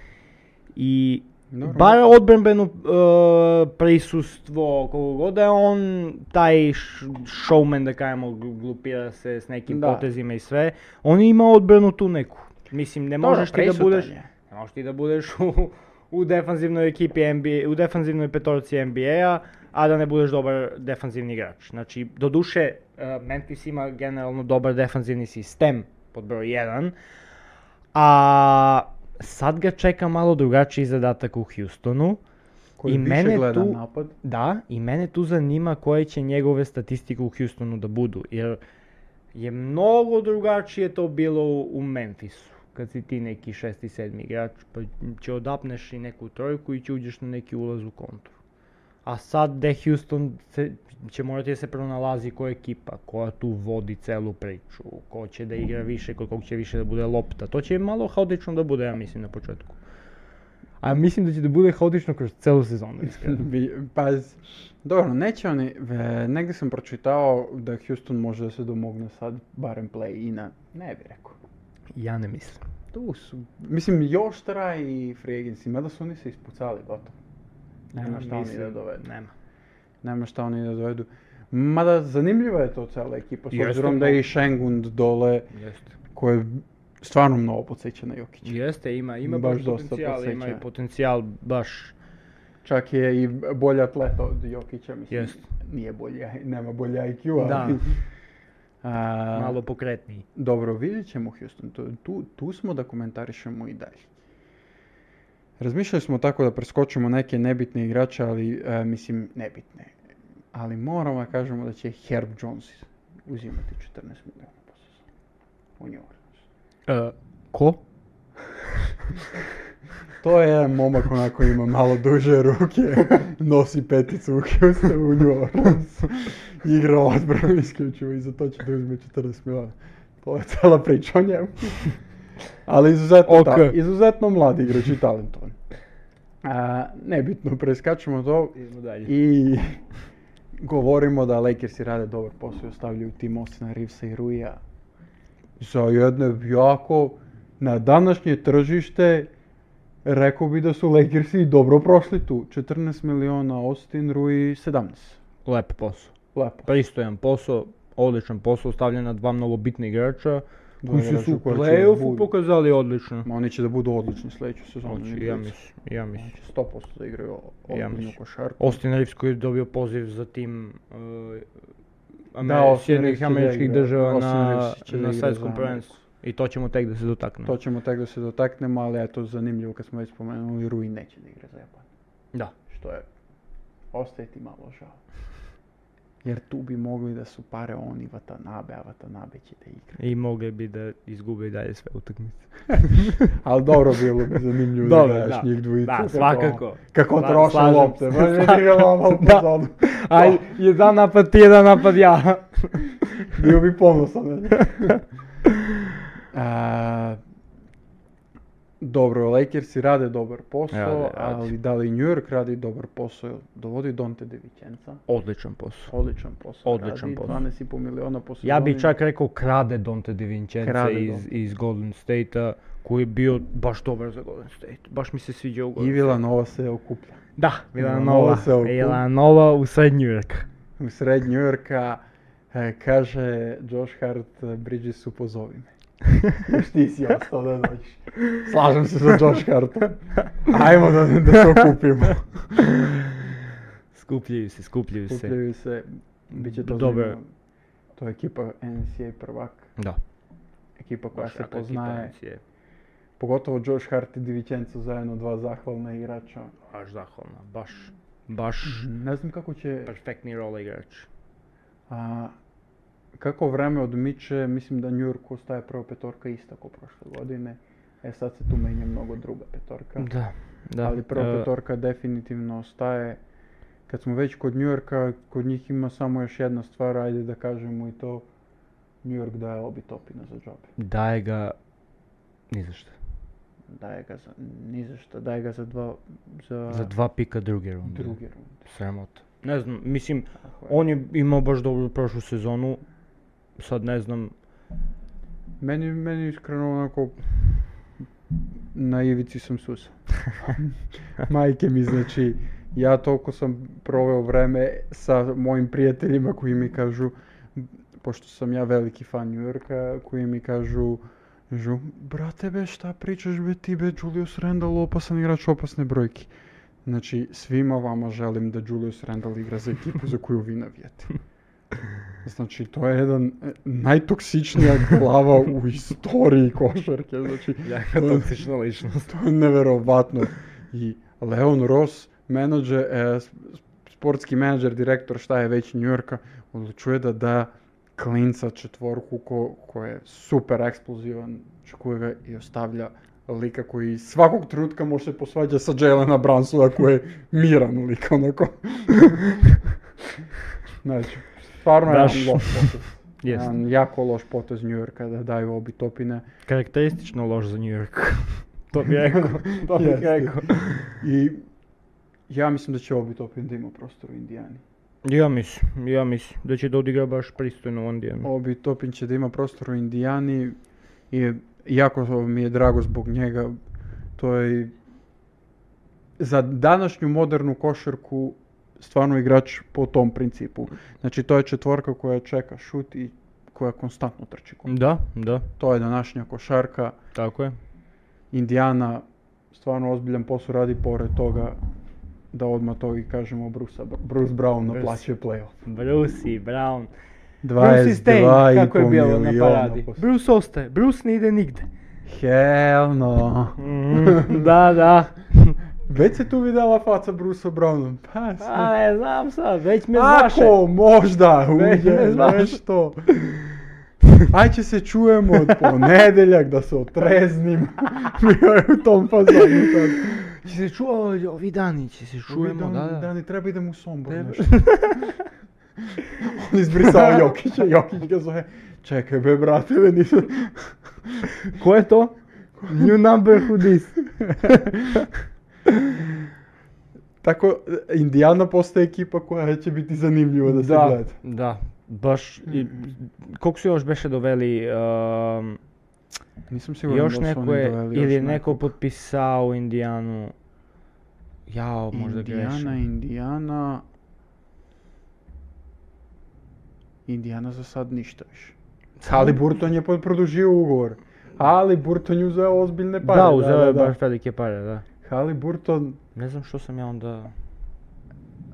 i
Dobro.
bar odbrambeno e, prisustvo, koliko god da je on taj š- showman, da kažemo, gl- glupira se s nekim
Da.
potezima i sve, on ima odbranu tu neku. Mislim, ne
Dobro,
možeš ti da
prisutan
budeš...
je.
Ne možeš ti da budeš u, u defanzivnoj ekipi NBA, u defanzivnoj petorci NBA-a, a da ne budeš dobar defanzivni igrač. Znači, doduše, e, Memphis ima generalno dobar defanzivni sistem pod broj 1, a sad ga čeka malo drugačiji zadatak u Houstonu.
кој
И мене
више гледа
ту-
напад.
Да, и мене ту занима кои ќе негове статистика у Хјустону да буду, јер е многу другачије тоа било у Мемфису. Кад си ти неки шести, седми играч, па ќе одапнеш и неку тројку и ќе уđеш на неки улаз у контур. А сад де Хјустон се, ќе мора да се проналази која екипа, која ту води целу причу, кој ќе да игра више, кој колку ќе више да буде лопта. Тоа ќе мало хаотично да буде, ја мислим на почетку. А мислим да ќе да биде хаотично кроз целу сезона, искрено.
Би- Пази. Добро, неќе они, ве, негде сам прочитао да Хјустон може да се домогне сад барем плей и на, не би рекол.
Ја не мислам.
Ту су, мислим, још трае и фриегенси, мада се они се испуцали, готово. Нема шта они да доведу.
Нема.
Нема шта они да доведу. Мада занимљива е тоа цела екипа, со
Јесте
обзиром да е и Шенгунд доле,
Јесте.
кој е стварно многу подсеќа на Јокиќ.
Јесте, има, има
Баш
баш
доста
потенцијал, има
подсеќа.
и потенцијал баш.
Чак е и бољ атлет од Јокиќа, мислим.
Јест.
Ние боља, нема боља IQ, али...
Да.
А,
Мало покретни.
Добро, видит ćemo Houston, tu, tu, tu smo da komentarišemo i dalje. Razmišljali smo tako da preskočimo neke nebitne igrače, ali e, mislim nebitne. Ali moramo da kažemo da će Herb Jones uzimati 14 milijuna po sezoni. U New Orleans.
e, Ко?
To je jedan momak onako ima malo duže ruke, nosi peticu u Houstonu u New Orleans. Igra odbranu isključivo i za to će da uzme 14 miliona. To je cela priča o njemu. Ali izuzetno,
Ok.
ta- izuzetno mlad igrač i talentovan. A, nebitno, preskačemo to
Идемо даље.
i govorimo da Lakersi rade dobar posao i ostavljaju tim Ostina Reevesa i Ruija za jedne jako na današnje tržište rekao bi da su Lakersi dobro prošli tu. 14 miliona Austin Rui 17.
Леп посо.
Lepo.
Пристојан посо, одличен посо, оставлен на два многу битни играча,
Два
кои се
играча
су у
кои ќе
плейофу
буду.
показали одлично.
Ma oni će da budu odlični sljedeću sezonu.
Значи, ја мислам, ја мислам.
Znači 100% da igraju odličnu
мислам.
košarku.
Остин Ривс кој добио позив за тим э,
Остин
Амер... Сјединих
Ривс ќе да
Америчких
игра.
држава
Остин
на,
Ривс ќе да
на
игра за
светском
Америку.
првенству. И тоа ќе му тек да се дотакне.
To ćemo tek da se dotaknemo, ali eto zanimljivo kad smo već spomenuli, Rui neće da igra za Japan.
Да.
što je ostaje ti malo žao. Jer tu bi mogli da su pare oni Vatanabe, a Vatanabe će da igra.
И могле би да изгуби и даје све утакмице.
Ali dobro bilo bi zanimljivo da gledaš njih dvojicu.
Да,
kako-
свакако.
Kako
Сла-
troše
слажем
lopte,
се.
baš je igrala lopta
Da.
za ono.
Ај, еден напад ти, еден напад ја.
Bio bi ponosan. na njih. A, dobro, Lakersi rade dobar posao,
Rade, rade.
ali da li New York radi dobar posao? Dovodi Donte De Vicenza.
Одличен посо.
Odličan posao.
Odličan
radi,
posao.
12,5 miliona po
Ја би
sezoni.
чак рекол краде Донте Де Винченца
Краде
из,
Донте.
из Голден Стейта, кој био баш добар за Голден Стейт. Баш ми се свиѓа у
I
Голден
Vilanova se okuplja.
Да,
Виланова
Виланова.
се окуп-
Виланова у Сред Нјујорк.
U sred Njujorka e, kaže Josh Hart, e, Bridgesu pozovi me. Još ti si ostao da dođeš. Slažem se sa Josh Hartom. Ajmo da, da se okupimo.
Скупљају се, скупљају се.
Okupljaju se, bit će to
Dobro.
zanimljivo. To je ekipa NCAA prvak,
Да.
ekipa koja
баш
se
јака екипа
poznaje.
си е.
Pogotovo Josh Hart i Divicenzo zajedno, dva zahvalna igrača.
Баш захвална, баш. Баш
Ne znam kako će
перфектни рол играч.
A, kako vreme odmiče, mislim da New Yorku ostaje prva petorka ista kao prošle godine. E sad se tu menja mnogo druga petorka.
Да. Да.
Ali prva
Е,
petorka definitivno ostaje. Kad smo već kod New Yorka, kod njih ima samo još jedna stvar, ajde da kažemo i to. New York daje obi topina za džabe.
Daje ga ни за што.
Daje ga za, ni za šta, daje ga za dva, za,
За два пика други рунди.
drugi rund.
Срамота. Не знам, мислим,
Tako je.
он е имал баш добру прошлу сезону. Сад не знам.
Meni, meni iskreno onako na ivici sam susa. Majke mi, znači, ja toliko sam proveo vreme sa mojim prijateljima koji mi kažu, pošto sam ja veliki fan New Yorka, koji mi kažu, kažu, brate be, šta pričaš be ti be, Julius Randall, opasan igrač, opasne brojke. Znači, svima vama želim da Julius Randall igra za ekipu za koju vi navijate. Znači, to je jedan e, najtoksičnija glava u istoriji košarke. Znači,
Јака токсична личност.
to je neverovatno. I Pa Leon Ross e, менеджер, е, с- спортски менеджер, директор, шта е веќе Њујорка, одлучуе да да клинца четворку ко, кој е супер експлозивен, чекува го и оставља лика кој сваког трутка може се посваѓа со Джейлена Брансу, ако е миран лик, онако. значи, стварно е
Баш.
лош потез.
Јест.
Еден Јако лош потез Њујорка да дај оби топине.
Карактеристично лош за Њујорк. Тоа би рекол. Тоа би
Јесте.
рекол.
И ја мислам да ќе оби топин да има простор у Индијани.
Ја мислам, ја мислам дека ќе да одигра баш пристојно ондиен.
Оби Топин ќе да има простор у Индијани и јако ми е драго због njega. Тој за данашњу модерну кошерку стварно играч по том принципу. Значи тоа е четворка која чека шут и која константно трчи кон.
Да, да,
Тоа е данашња кошарка.
тако е.
Индијана стварно озбилен посо ради поред тога да одма тоа и кажемо Бруса Брус Браун
Брус.
наплаче плейоф.
Бруси, Браун.
22
како е било на
милиона
паради.
пос-
Брус остае, Брус не иде нигде.
Hell no.
да, да.
Веќе се ту видела фаца Бруса Брауна. Па,
А,
се-
не знам са, веќе ме знаше.
Ако можда
Не, не
уѓе
знам.
нешто. Ај ќе се чуеме од понеделјак да се отрезниме. Ми е у том фазону тад.
Ќе се чува ови дани, ќе се чуемо, да, да.
Да, не треба идем у Сомбор
Треба.
нешто. Он избрисал Јокича, Јокич го зове. Чекај бе брате, бе нисам.
Кој е тоа? New number who this?
Тако, Индијана постае екипа која ќе бити занимљива да се
Да,
гледа.
да, баш и колку се још беше довели ам,
Нисам сигурен
Још
дали се они
некој
довели
или
још
некој подписал Индијану. Јао, може да
Индијана,
грешам.
Индијана... Индијана за сад ништа више. Али Буртон ја продолжио уговор. Али Буртон ја узео озбилне пари.
Да, узео е баш велики пари, да.
Али Буртон...
Не знам што сам ја онда...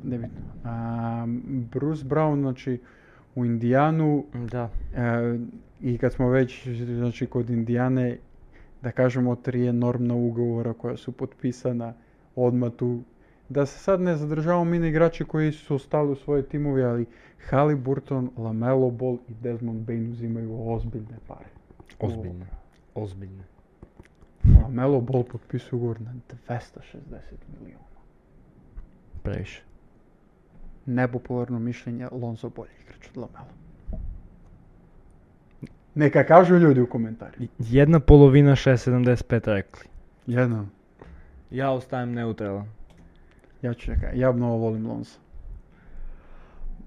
Небитно. А, Брус Браун, значи, у Индијану...
Да.
Е, и кад смо веќе, значи, код Индијане, да кажемо, три енормна уговора која су подписана одма ту. Да се сад не задржавам и на играчи кои су остали у своји тимови, али Хали Буртон, Ламело Бол и Дезмонд Бейн узимају озбилне пари.
Озбилно. Озбилно.
Ламело Бол подпису уговор на 260 милиона.
Превише.
Непопуларно мишљење, Лонзо бољи играч од Ламело. Нека кажу људи у коментари.
Една половина 6.75 рекли.
Једно.
Ја оставам неутрален.
Ја ќе чека, ја многу волим Лонса.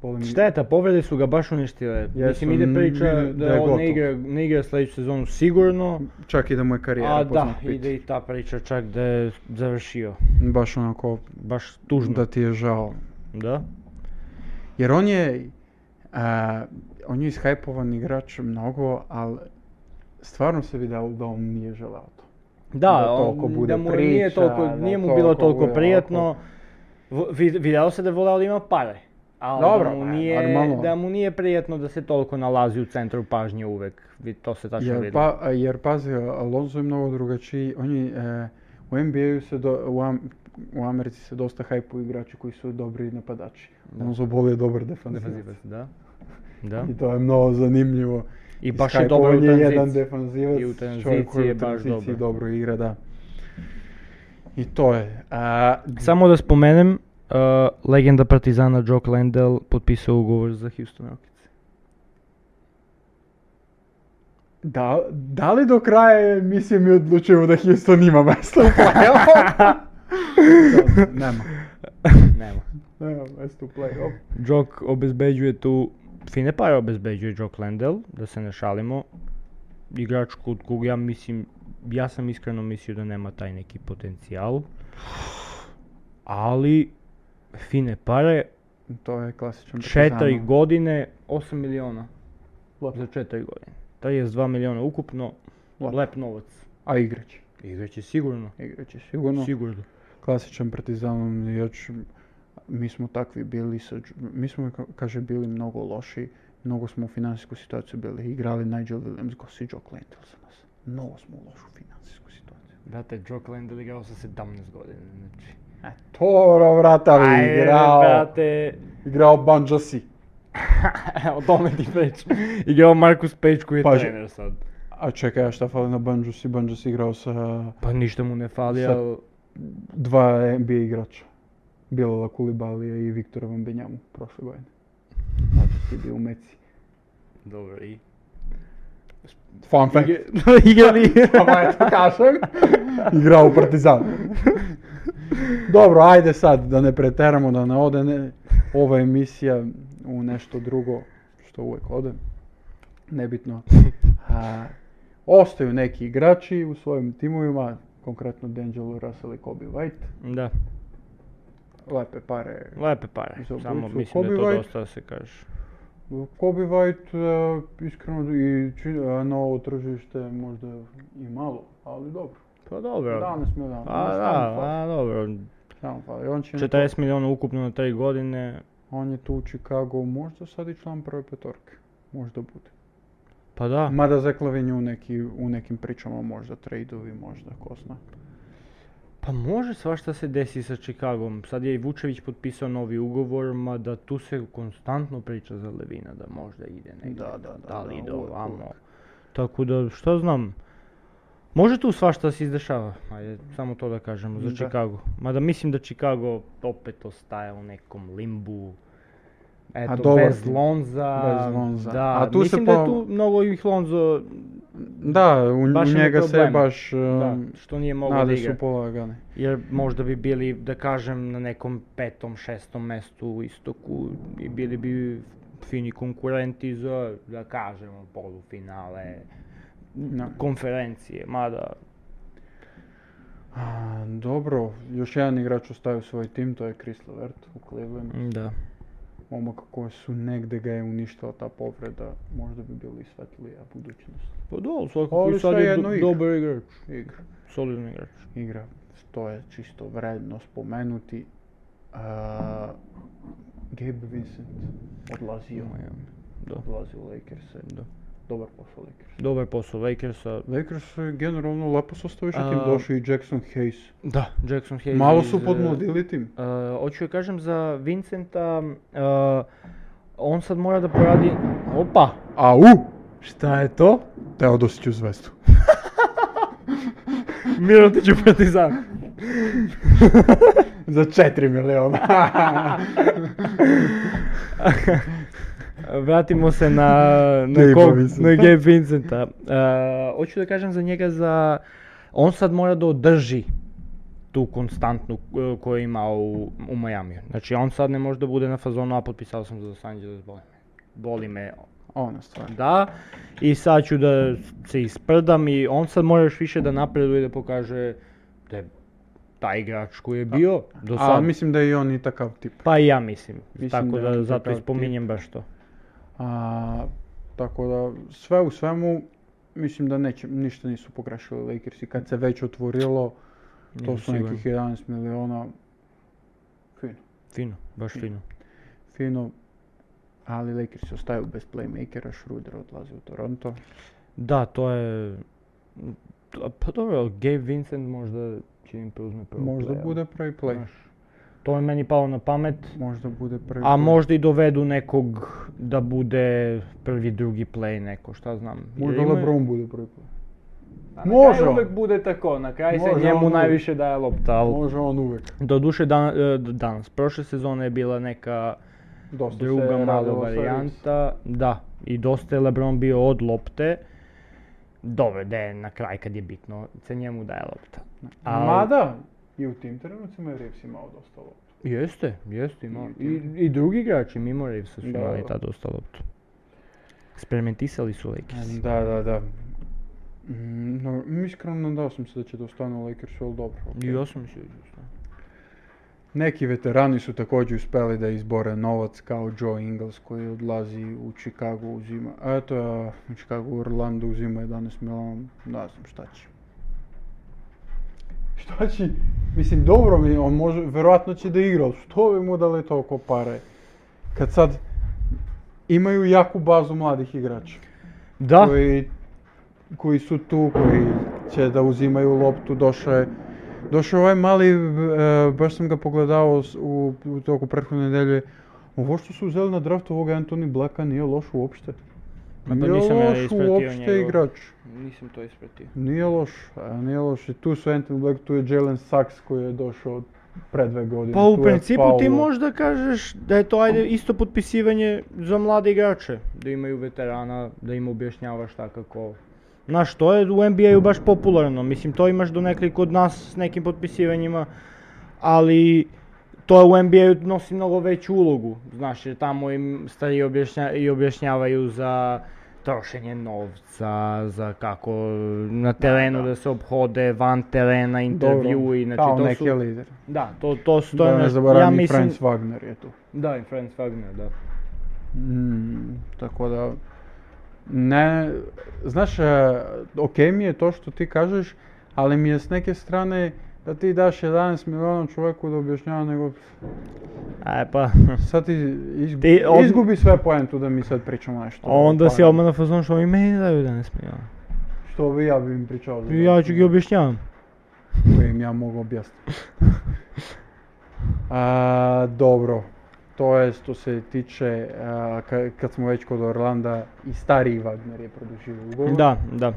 Волим...
Штета, повреди су га баш уништиле.
Јесу,
Мислим, иде прича
не- да е
да он
готов.
не игра, не игра следеќу сезону сигурно.
Чак и да му е кариера
А да,
познат пит.
иде и та прича чак да е завршио.
Баш онако,
Баш тужно.
да ти е жал.
Да.
Jer on je, a, on je ishajpovan igrač mnogo, ali stvarno se vidjelo da on nije želeo to.
Да,
Да
он-
толку буде
да му не е
прича,
толку,
да
не му било
толку
толку
буде
пријатно. В- ви- Видело се да волео да има пари. Ал
Добро,
да му
бе,
ние
нормално.
да му ние пријатно да се толку налази у центру пажње увек. Ви то се тачно
Jer,
види.
pa, jer pazi, Alonso je mnogo drugačiji. On je, e, u NBA-u se do, u, Am- u Americi se dosta hajpuju igrači koji su dobri napadači.
Da.
Alonso Ball je dobar defanzivac.
Дефанзивец, да. Да.
I to je mnogo zanimljivo.
И баш е добро у
Искајпување еден
транзиција.
дефанзивец,
И у
човек кој
транзицији е
у
баш
транзицији
добар.
добро игра, да. И тоа е. А,
Само да споменем, а, легенда Партизана Джок Лендел подписа уговор за Хјустон Рокетс.
да, дали до крај мисија ми одлучило да Хјустон има место у плейоф? Нема.
Нема.
Нема место у плейоф.
Джок обезбеđuje ту фине пари обезбеđuje Джок Лендел, да се не шалимо. Играч од кога ја мислим, јас сам искрено мислил да нема тај неки потенцијал. Али фине паре,
Тоа е класичен
4
партизан.
године, 8 милиона
Леп.
за 4 години. 32 милиона укупно,
Леп.
леп новац.
А играч?
Играќе сигурно.
Играч е сигурно.
Сигурно.
Класичен партизан, ја ч- ми смо такви били, со, Дж- ми смо, ка- каже, били многу лоши, многу смо у финансиску ситуација били, играли Најджел Вилемс, го си Джок Лендел за нас. Многу смо у лошу финансиску ситуација.
Брате, Джок Лендел играл со 17 години, значи.
Toro, vrata mi
Ајде,
igrao,
брате.
igrao Banja Si.
О томе ти преч. Играо Маркус Пејч кој е
Паже.
тренер сад.
A čekaj, a šta fali na Banja Si? Banja Si igrao sa
Па ништо му не фали,
Сад.
ал
dva NBA igrača. Bilala Kulibalija i Viktora Vambenjamu prošle godine. Znači si bio u Meci.
добро и.
Fun fact.
Играли.
Ама eto kažem. Igrao u Partizanu. Dobro, ajde sad da ne preteramo, da ne ode ne, ova emisija u nešto drugo što uvek ode. Nebitno. A, ostaju neki igrači u svojim timovima, konkretno D'Angelo Russell i Kobe White.
Да,
Lepe pare.
лепе паре.
За
Само
обојцу
мислам
Коби
да е тоа
Вајт.
доста да се каже.
Kobe White, e, iskreno, i čini- e, novo tržište možda i malo, ali dobro.
Па добро.
11 milijuna.
А, да, а, добро.
Samo fali. On, će na to-
40 милиона укупно на 3 години.
on je tu u Chicago, možda sad i član prve petorke. Možda bude.
Па да.
Mada zaklavin je u, neki, u nekim pričama, možda trade-ovi, možda, ko zna.
Pa može svašta se desi sa Čikagom. Sad je i Vučević potpisao novi ugovor, mada tu se konstantno priča za Levina da možda ide negdje.
Da, da, da,
li
da,
ide
uvek,
ovamo.
uvek.
Tako da, šta znam. Može tu svašta da se izdešava. Ajde, samo to da kažemo za
Da.
Chicago. Mada mislim da Chicago opet ostaje u nekom limbu. Eto,
dobro.
bez Lonza.
Bez Lonza.
Da,
A tu se
mislim da je
po-
tu mnogo ih Lonzo,
Da, u,
Baš
u
ima
njega se
problema.
baš e,
da, što nije mogao da
nade
igra.
su polagane.
Jer možda bi bili, da kažem, na nekom petom, šestom mestu u istoku i bili bi fini konkurenti za, da kažemo, polufinale,
Da.
konferencije, mada...
A, dobro, još jedan igrač ostaje u svoj tim, to je Chris Levert u Cleveland.
Da.
momak koji su negde ga je uništila ta povreda, možda bi bili svetlija budućnost.
Pa da, svakako
Ali
i sad je
svejedno
do-
igra.
dobar igrač,
Igra.
solidan igrač.
Igra, to je čisto vredno spomenuti. A, Gabe Vincent odlazio,
Miami, Da,
odlazio u Lakers,
da.
dobar posao Lakers.
Dobar posao Lakersa.
Lakers je generalno lepo sastaviš
A-
tim, došao i Jackson Hayes.
Da, Jackson Hayes.
Malo su
iz-
podmladili tim.
Uh, hoću joj kažem za Vincenta, uh, on sad mora da poradi... Opa!
Au!
Šta je to?
Teodosić u zvezdu.
Mirotić u Partizan.
Za 4 miliona.
Vratimo se na, na,
Gabe
kog,
Vincenta.
na Gabe Vincenta. Uh, hoću da kažem za njega za... On sad mora da održi tu konstantnu uh, koju je imao u, u Majamiju. Znači on sad ne može da bude na fazonu, a potpisao sam za Los Angeles, boli me. Boli me,
Ona stvar.
da. I sad ću da se isprdam i on sad mora još više da napreduje da pokaže da je taj igrač koji je bio do
A
sad.
mislim da je i on i takav tip.
Pa i ja mislim.
Mislim
Tako
da
da,
je on
zato i
takav tip.
spominjem baš to.
A, tako da, sve u svemu, mislim da neće, ništa nisu pogrešili Lakers i kad se već otvorilo, to
Nisam
su
siguran.
nekih 11 miliona, fino,
Fino, baš fino.
fino, ali Lakers ostaju bez playmakera, Schroeder odlazi u Toronto.
Da, to je... to- Pa dobro, Gabe Vincent možda čim preuzme prvo
Možda
play-off.
bude prvi play,
Znaš, To je meni palo na pamet.
možda bude prvi
A
play.
možda i dovedu nekog da bude prvi, drugi play neko, šta znam. Jer
Možda
imaju-
LeBron bude prvi play.
Pa
Može
kraju
on.
uvek bude tako, na kraju se
Može on
njemu
uvek.
najviše daje lopta. Ali...
Može on uvek,
Doduše dan, e, danas, prošle sezone je bila neka
dosta se
druga mala
radilo sa Reeves.
varijanta. Da, i dosta je LeBron bio od lopte. Dobro, da je na kraj kad je bitno, se njemu daje lopta. Al-
Mada, i u tim trenucima je Reeves imao dosta loptu.
Jeste, jeste, imao.
I-
I, i drugi igrači, mimo Reevesa su
Da,
imali
da.
ta dosta loptu. Eksperimentisali su Lakers.
Da, da, da. Mm, No, iskreno nadao sam se da će da ostanu Lakersu, ali dobro.
I
okej.
ja sam mislio da su.
Neki veterani su također uspeli da izbore novac kao Joe Ingles koji odlazi u Chicago uzima, a eto, a, u Chicago u Orlando uzima 11 miliona, ne znam šta će. Šta će? Mislim, dobro mi, on može, verovatno će da igra, ali što bi mu dali toliko pare? Kad sad imaju jaku bazu mladih igrača
Da,
koji, koji su tu, koji će da uzimaju loptu, došao je Došao ovaj mali, e, baš sam ga pogledao s- u, u toku prethodne nedelje. Ovo što su uzeli na draft ovoga Anthony Blacka nije loš uopšte.
Ma to pa nisam ja
loš
ispratio
uopšte
njegov.
igrač.
Nisam to ispratio.
Nije loš, a, nije loš. I tu su Anthony Black, tu je Jalen Sachs koji je došao pre dve godine.
Pa u
tu je
principu ti
Paolo.
можеш да кажеш да е тоа ајде исто подписивање за млади играчи, да имају ветерана, да им објасняваш така како Знаеш, тоа е у NBA -у баш популарно. Мислим, тоа имаш до некој код нас с неким подписивањима, али тоа у NBA -у носи многу веќу улогу. Знаеш, јер таму им стари објашња, и објаснявају за трошење новца, за како на терену да, се обходе, ван терена,
Dobro,
интервјуи, значи
kao
тоа
neki
су
lider.
Da, to, to su
Da
znači, to je
ne
nešto-
zaboravim,
ja
i
mislim,
Franz Wagner je tu.
Da, i Franz Wagner, da.
Mm, tako da, ne, znaš, e, okej mi je to što ti kažeš, ali mi je s neke strane da ti daš 11 miliona čovjeku da objašnjava, nego
Aj pa,
sad ti, izgu-
Ti od-
izgubi sve poentu da mi sad pričamo nešto.
E, onda si
pametno.
odmah na fazon što mi meni daju 11 miliona.
Što bi ja bi im pričao za
Ja ću gi objašnjavam.
koje im ja mogu objasniti. A, dobro, to je što se tiče, a, ka- kad smo već kod Orlanda, i stariji Wagner je produžio ugovor.
Da, da.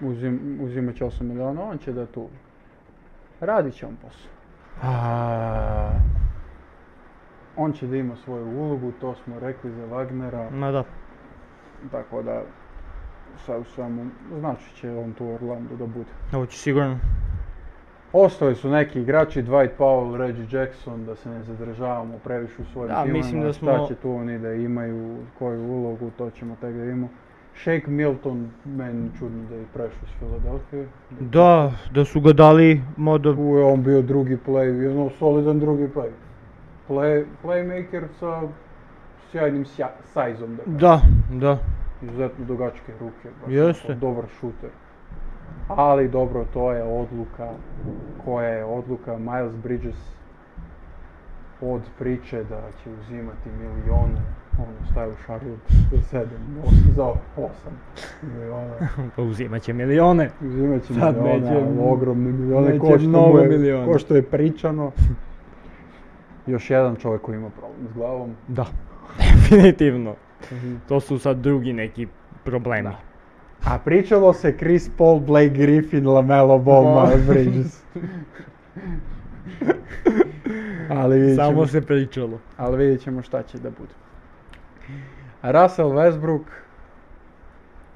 Uzim, uzimat će 8 miliona, on će da tu. Radit će on posao. A, on će da ima svoju ulogu, to smo rekli za Wagnera,
Ma da. Mm.
tako da sad u svemu, znači će on tu u Orlandu da bude.
Ovo će sigurno.
Ostali su neki igrači, Dwight Powell, Reggie Jackson, da se ne zadržavamo previše u svojim
Da,
timovima,
mislim da
šta
smo-
će tu oni da imaju, koju ulogu, to ćemo tek da vidimo. Shake Milton, meni čudno da je prešao iz Filadelfije.
Da, da su ga dali modo...
Tu je on bio drugi play, jedno solidan drugi play. play playmaker sa sjajnim sja, sajzom, da kažem.
Da, da.
Izuzetno dugačke ruke, baš
Jeste.
onako dobar šuter. Ali dobro, to je odluka koja je odluka Miles Bridges od priče da će uzimati milione, on ostaje u Charlotte za sedam, os- za osam miliona.
Pa uzimat će milione.
Uzimat će
Sad
milione,
neće-
ali ogromne milione,
neće
ko što, mu
mnogo
je,
miliona.
ko što je pričano. Još jedan čovjek koji ima problem s glavom.
Da. Definitivno. To su sad drugi neki problemi.
Da. A pričalo se Chris Paul, Blake Griffin, Lamelo Ball,
Ball.
Miles Bridges. ali, vidjet ćemo,
Samo se pričalo.
ali vidjet ćemo šta će da bude. Russell Westbrook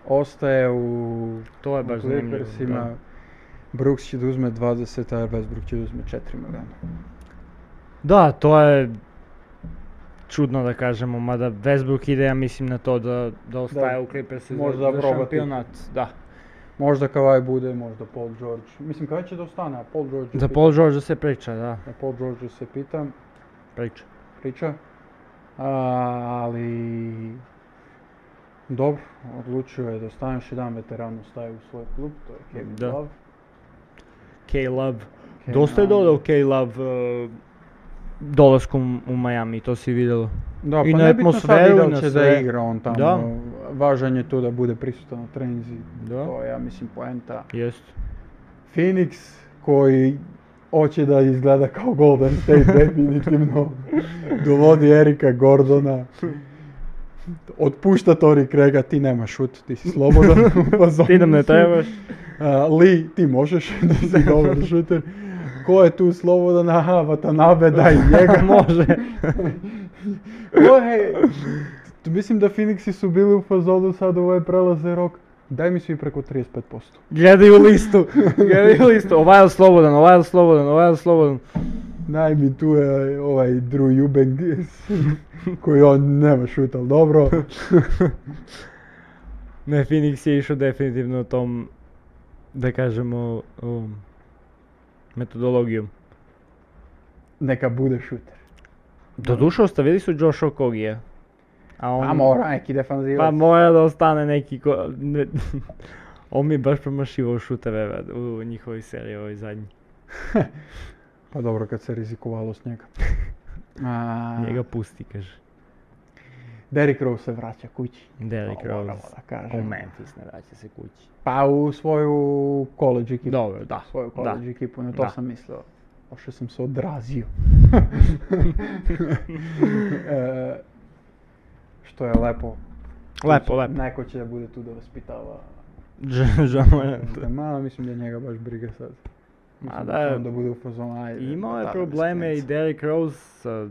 ostaje u
To je Pa baš
u
zanimljivo.
Clippersima.
da.
Brooks će da uzme 20, a Westbrook će da uzme 4 miliona.
Da, to je čudno da kažemo, mada Westbrook ide, ja mislim, na to da, da ostaje u Clippersu za,
možda
za
probati.
šampionat. Da.
Možda Kawhi bude, možda Paul George. Mislim, Kawhi će da ostane, a Paul George...
Za
pit-
Paul George se priča, da,
a Paul George se pitam.
priča.
priča. A, ali... Dobro, odlučio je da ostaneš jedan veteran ostaje u svoj klub, to je Kevin
Da.
Love.
K-Love.
Kevin
Dosta je
Love.
dodao K-Love uh, dolaskom u Miami, to si vidjelo.
Da,
i
pa
na
nebitno sad
atmosferu i
ide li
na
će da
sve.
igra on tamo.
Da.
Važan je tu da bude prisutan na trenzi.
Da.
To je, ja mislim, poenta.
Jest.
Phoenix koji hoće da izgleda kao Golden State definitivno. Dovodi Erika Gordona. Otpušta Tori Krega, ti nema šut, ti si slobodan. u
Ti nam
fazonu
ne
si.
trebaš.
A, Lee, ti možeš da si dobar šuter. Ko je tu slobodan? Aha, Watanabe, daj njega.
Može.
Ko je? T- Mislim da Phoenixi su bili u fazonu sad ovaj prelaze rok. Daj mi svi preko 35%.
Gledaj u listu. Gledaj u listu. Ovaj je slobodan, ovaj je slobodan, ovaj je slobodan.
Daj mi tu je ovaj Drew Eubank koji on nema šuta, ali dobro.
Ne, Phoenix je išao definitivno tom, da kažemo, ovom, metodologijom.
Neka bude šuter.
Doduše ostavili su Josh Okogija. A on,
A Pa mora neki defanzivac.
pa mora da ostane neki ko... ne- on mi je baš promašivao šuteve brad, u njihovoj seriji, ovoj zadnji.
Pa dobro kad se rizikovalo s njega. A,
Njega pusti, kaže.
Derrick Rose се враќа куќи.
Дерек
Тоа морам
Роуз.
да кажем.
О, Мемфис не враќа се куќи.
Па у своју коледж екипу.
Добро, да.
Своју
да.
коледж екипу, на тоа
Да.
сам мислел. Оше сам се одразио. Е, Што е лепо.
Лепо, лепо.
Некој ќе да буде ту да воспитава.
Дж- Жално е.
Мала, мислам да njega баш брига сад. Мислам,
да,
само да буде у фазон, ајде.
Имал е
таа
проблеми и
дисциплина.
Дерек Роуз са... с-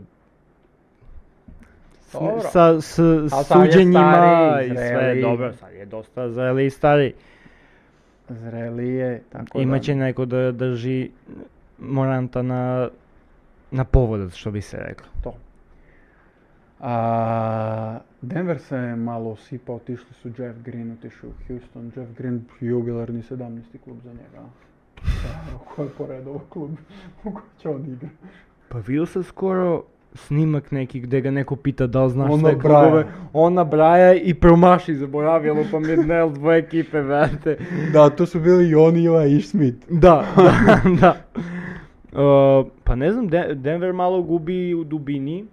Добро.
Са, с,
А
с
сам е
суđenjima
стари,
и
зрели.
све, добро, сад е доста зрели и стари.
Зрели е, тако да.
Имаќе некој да држи Моранта на, на поводот, што би се рекло.
To. А, Денвер се мало осипа, отишли су Джеф Грин, отишли у Хјустон. Джеф Грин јубиларни 17-ти клуб за njega. Е, Кој е поред овој клуб у кој ќе он игра?
Па видел се скоро снимак неки где го некој пита дали знаш
Он
сте
набраја.
клубове. Он набраја и промаши, заборавило па ми днел две екипе, верте.
Да, то су били и они и овај Иш Смит.
Да, да, да. Е,
pa
па не знам, Ден- Денвер мало губи у дубини.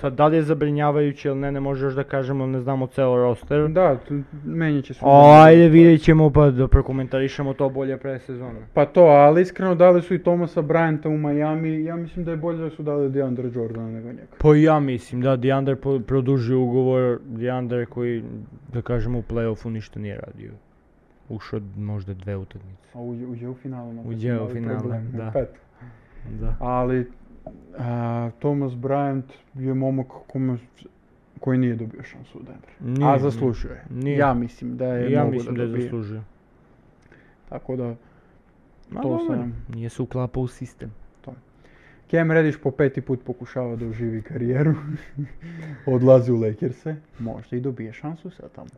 Сад дали е забринјавајуќе или не, не може још да кажеме, не знамо цел ростер.
Да, мене ќе се...
О, ајде видеќемо
pa
па да прокоментаришемо тоа боле пред сезона.
Па тоа, али искрено дали су и Томаса Брајанта у Мајами, ја мислим да е боље да су дали Деандре Джордана него некој.
Па и ја мислим, да, Диандер по- продужи уговор, Диандер кој, да кажем, у плейофу ништо не е радио. Ушо можда две утакмици.
А у, у џео финалот.
џео финалот, да.
Пет.
Да.
Ali a, Thomas Bryant je momak kome, koji nije dobio šansu u Denveru.
Nije,
a zaslužio je.
nije.
Ja mislim da je
ја
mogo
мислим
da
да
dobije.
заслужи.
Tako da,
Ма
Тоа
добро,
сам.
ние се уклапа у систем.
Cam Reddish po peti put pokušava da oživi karijeru. Odlazi u Lakers-e. Možda i dobije šansu sad tamo.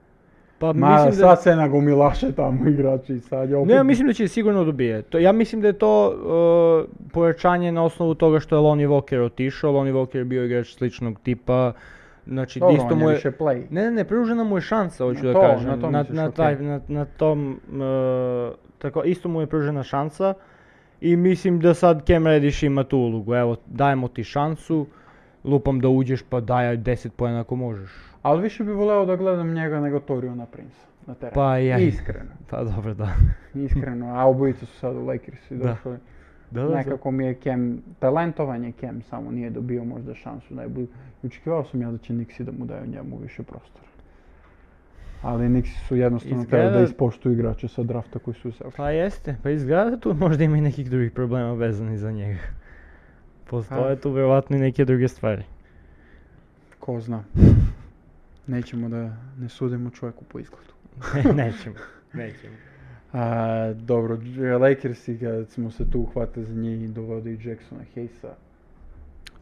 Па
Ma,
мислим да
sad se nagomilaše tamo igrači. Sad je opet...
Не, ја мислим дека ќе сигурно добие. Тоа ја мислим дека е тоа е, појачање на основу тога што е Лони Вокер отишол, Лони Вокер био играч сличног типа. Значи,
Dobro,
исто
on
му
je
е
više play.
Не, не, не, пружена му е шанса,
Na
hoću да
to,
кажем.
na to
на,
misliš,
на,
ok.
тај, на, на том, е, тако, исто му е пружена шанса. И мислим да сад Кем Редиш има ту улогу. Ево, дајмо ти шансу, лупам да уđеш па дај 10 поена ако можеш.
Ali više bi voleo da gledam njega nego Toriona Prince na terenu.
Pa i ja.
Iskreno.
Па добро, да.
Iskreno. A obojica su sad u Lakers-i
Da.
došli.
Да, да,
Nekako mi je Kem, talentovan je Kem, samo nije dobio možda šansu najbolju. I Očekivao sam ja da će Nixi da mu daju njemu više prostora. Ali Nixi su jednostavno
Izgleda-
htjeli da ispoštuju igrače sa drafta koji su uzeli.
Па јесте, па изгледа ту може има и неких други проблема везани за него. Постојат ту веројатно и неки други ствари.
Ko zna. Nećemo da ne sudimo čovjeku po izgledu.
Не, нечем, нечем.
A, dobro, Dž- Lakersi kad smo se tu uhvate za njih i dovode i Jacksona Hayesa.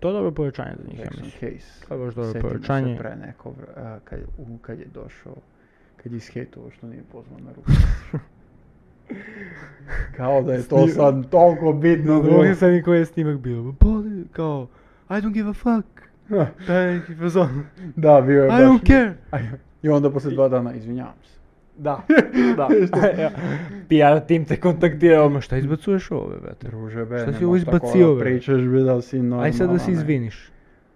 Тоа добро појачање за нив, ја
Jackson
мислам.
Hayes.
Тоа е баш добро
Sjetimo se
појачање.
pre neko, vr- a, kad, u- kad je došao, kad je ishetovao što nije pozvao na ruku. Kao da je to
Snijem.
sad toliko bitno.
Други се никој е снимак бил. Боли, као, I don't give a fuck.
bilo.
Тај е неки фазон.
da, bio je
I don't
baš.
care.
I onda posle dva dana, izvinjavam se. Da,
Да. Пиар тим те контактирал, ма што избацуваш ово, бе, бе?
Druže, be,
Šta
ne
si ovo
možeš tako
izbacio,
da
bre?
pričaš, be, da si normalan.
Ај сега да се
ne.
извиниш.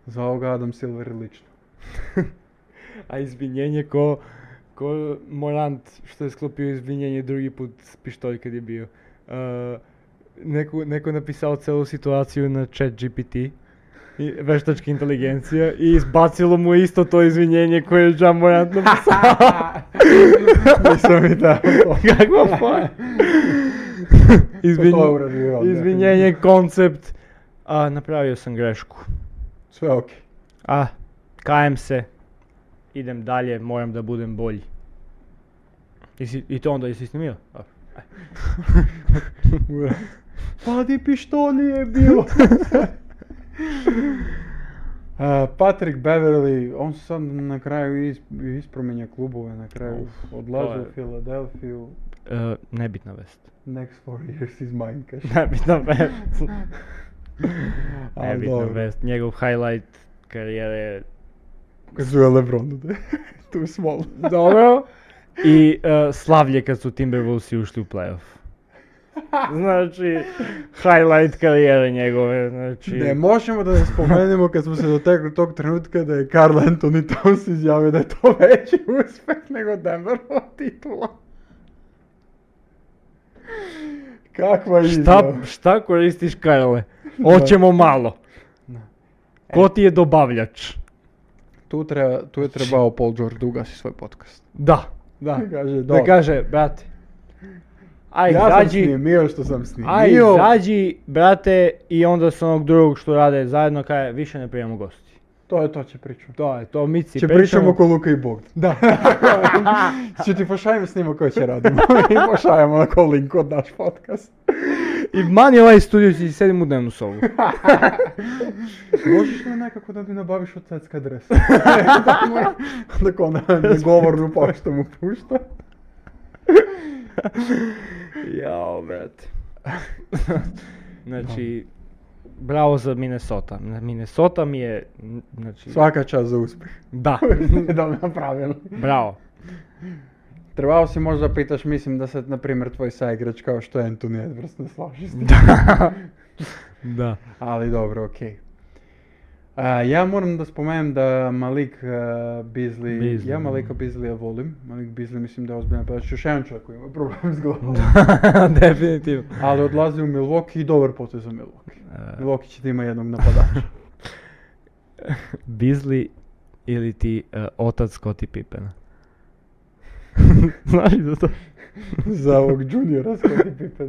Za ovoga Adam Silver je lično.
А извинење ко ко Морант што е склопио извинење други пут с пиштој каде био. А, Неко, неко написал целу ситуација на чат GPT, и вештачка интелигенција, и избацило му исто тоа извинење кое е Джан Морант написал. да.
Nisam mi dao to.
Каква фора?
To je uradio on,
Извинење, концепт. А, направио сам грешку.
Sve okej.
А, каем се. Идем дале, морам да будем бољи. И, си, и то онда и си снимио?
Padi pištolje Pa je bilo. A, Patrick Beverly, on se sad na kraju is, ispromenja klubove, na kraju
Uf, to
odlazi
je-
u Filadelfiju.
Е, небитна вест.
Next four years is mine, kaže.
Небитна вест.
A,
Небитна
dobro.
вест. Негов хайлайт кариера е...
Kad su je Lebron dođe. Tu smo.
e, Добро. И е, славље кад су Тимбервулси ушли у плейоф. Значи, хайлайт кариера негове, значи...
Не можемо да не споменемо кога сме се дотекли тог тренутка да е Карл Антони Таунс изјави да е тоа веќе успех него Денверова титула. Каква
Шта,
изјава?
шта користиш, Карле? Очемо мало. Ко ти е добављач?
Ту, треба, ту е требао Пол Джордж да угаси свој подкаст.
Да, да.
Каже,
Да
да.
каже, брате. Ај,
Ја сам
заđi,
снимио што сам
ај,
снимио.
заđi, брате, и онда со оног другог што раде заедно, кај, више не приемам гости.
Тоа е тоа ќе причам.
Тоа е, тоа мици,
Ќе причам око Лука и Бог. Да. Ќе ти пошајам снима кој ќе радимо. И пошајам онако линк од наш подкаст.
И мани овај студио ќе си седим у дневну собу.
Можеш ли некако да ми набавиш од сетска адреса? Така она неговорно пошта му пушта.
Јао, брате. Значи, браво за Минесота. На Минесота ми е, н- значи,
Свака час за успех.
да,
да направено.
браво.
Требао си може да питаш, мислим да се, например, твој саиграч као што е Ентони Едварс, не слажи се.
Да.
Ali dobro, okej. A, ja moram da spomenem da Malik Bizli,
Beasley,
ja
da.
Malika Bizlija volim. Malik Bizli mislim da je ozbiljan pevač, još jedan čovjek koji ima problem s glavom.
Definitivno.
Ali odlazi u Milwaukee i dobar potez za Milwaukee. Milwaukee će da ima jednog napadača.
Бизли или ти е, отац Коти Пипена? Знаеш за тоа?
za ovog juniora s kojim pitan.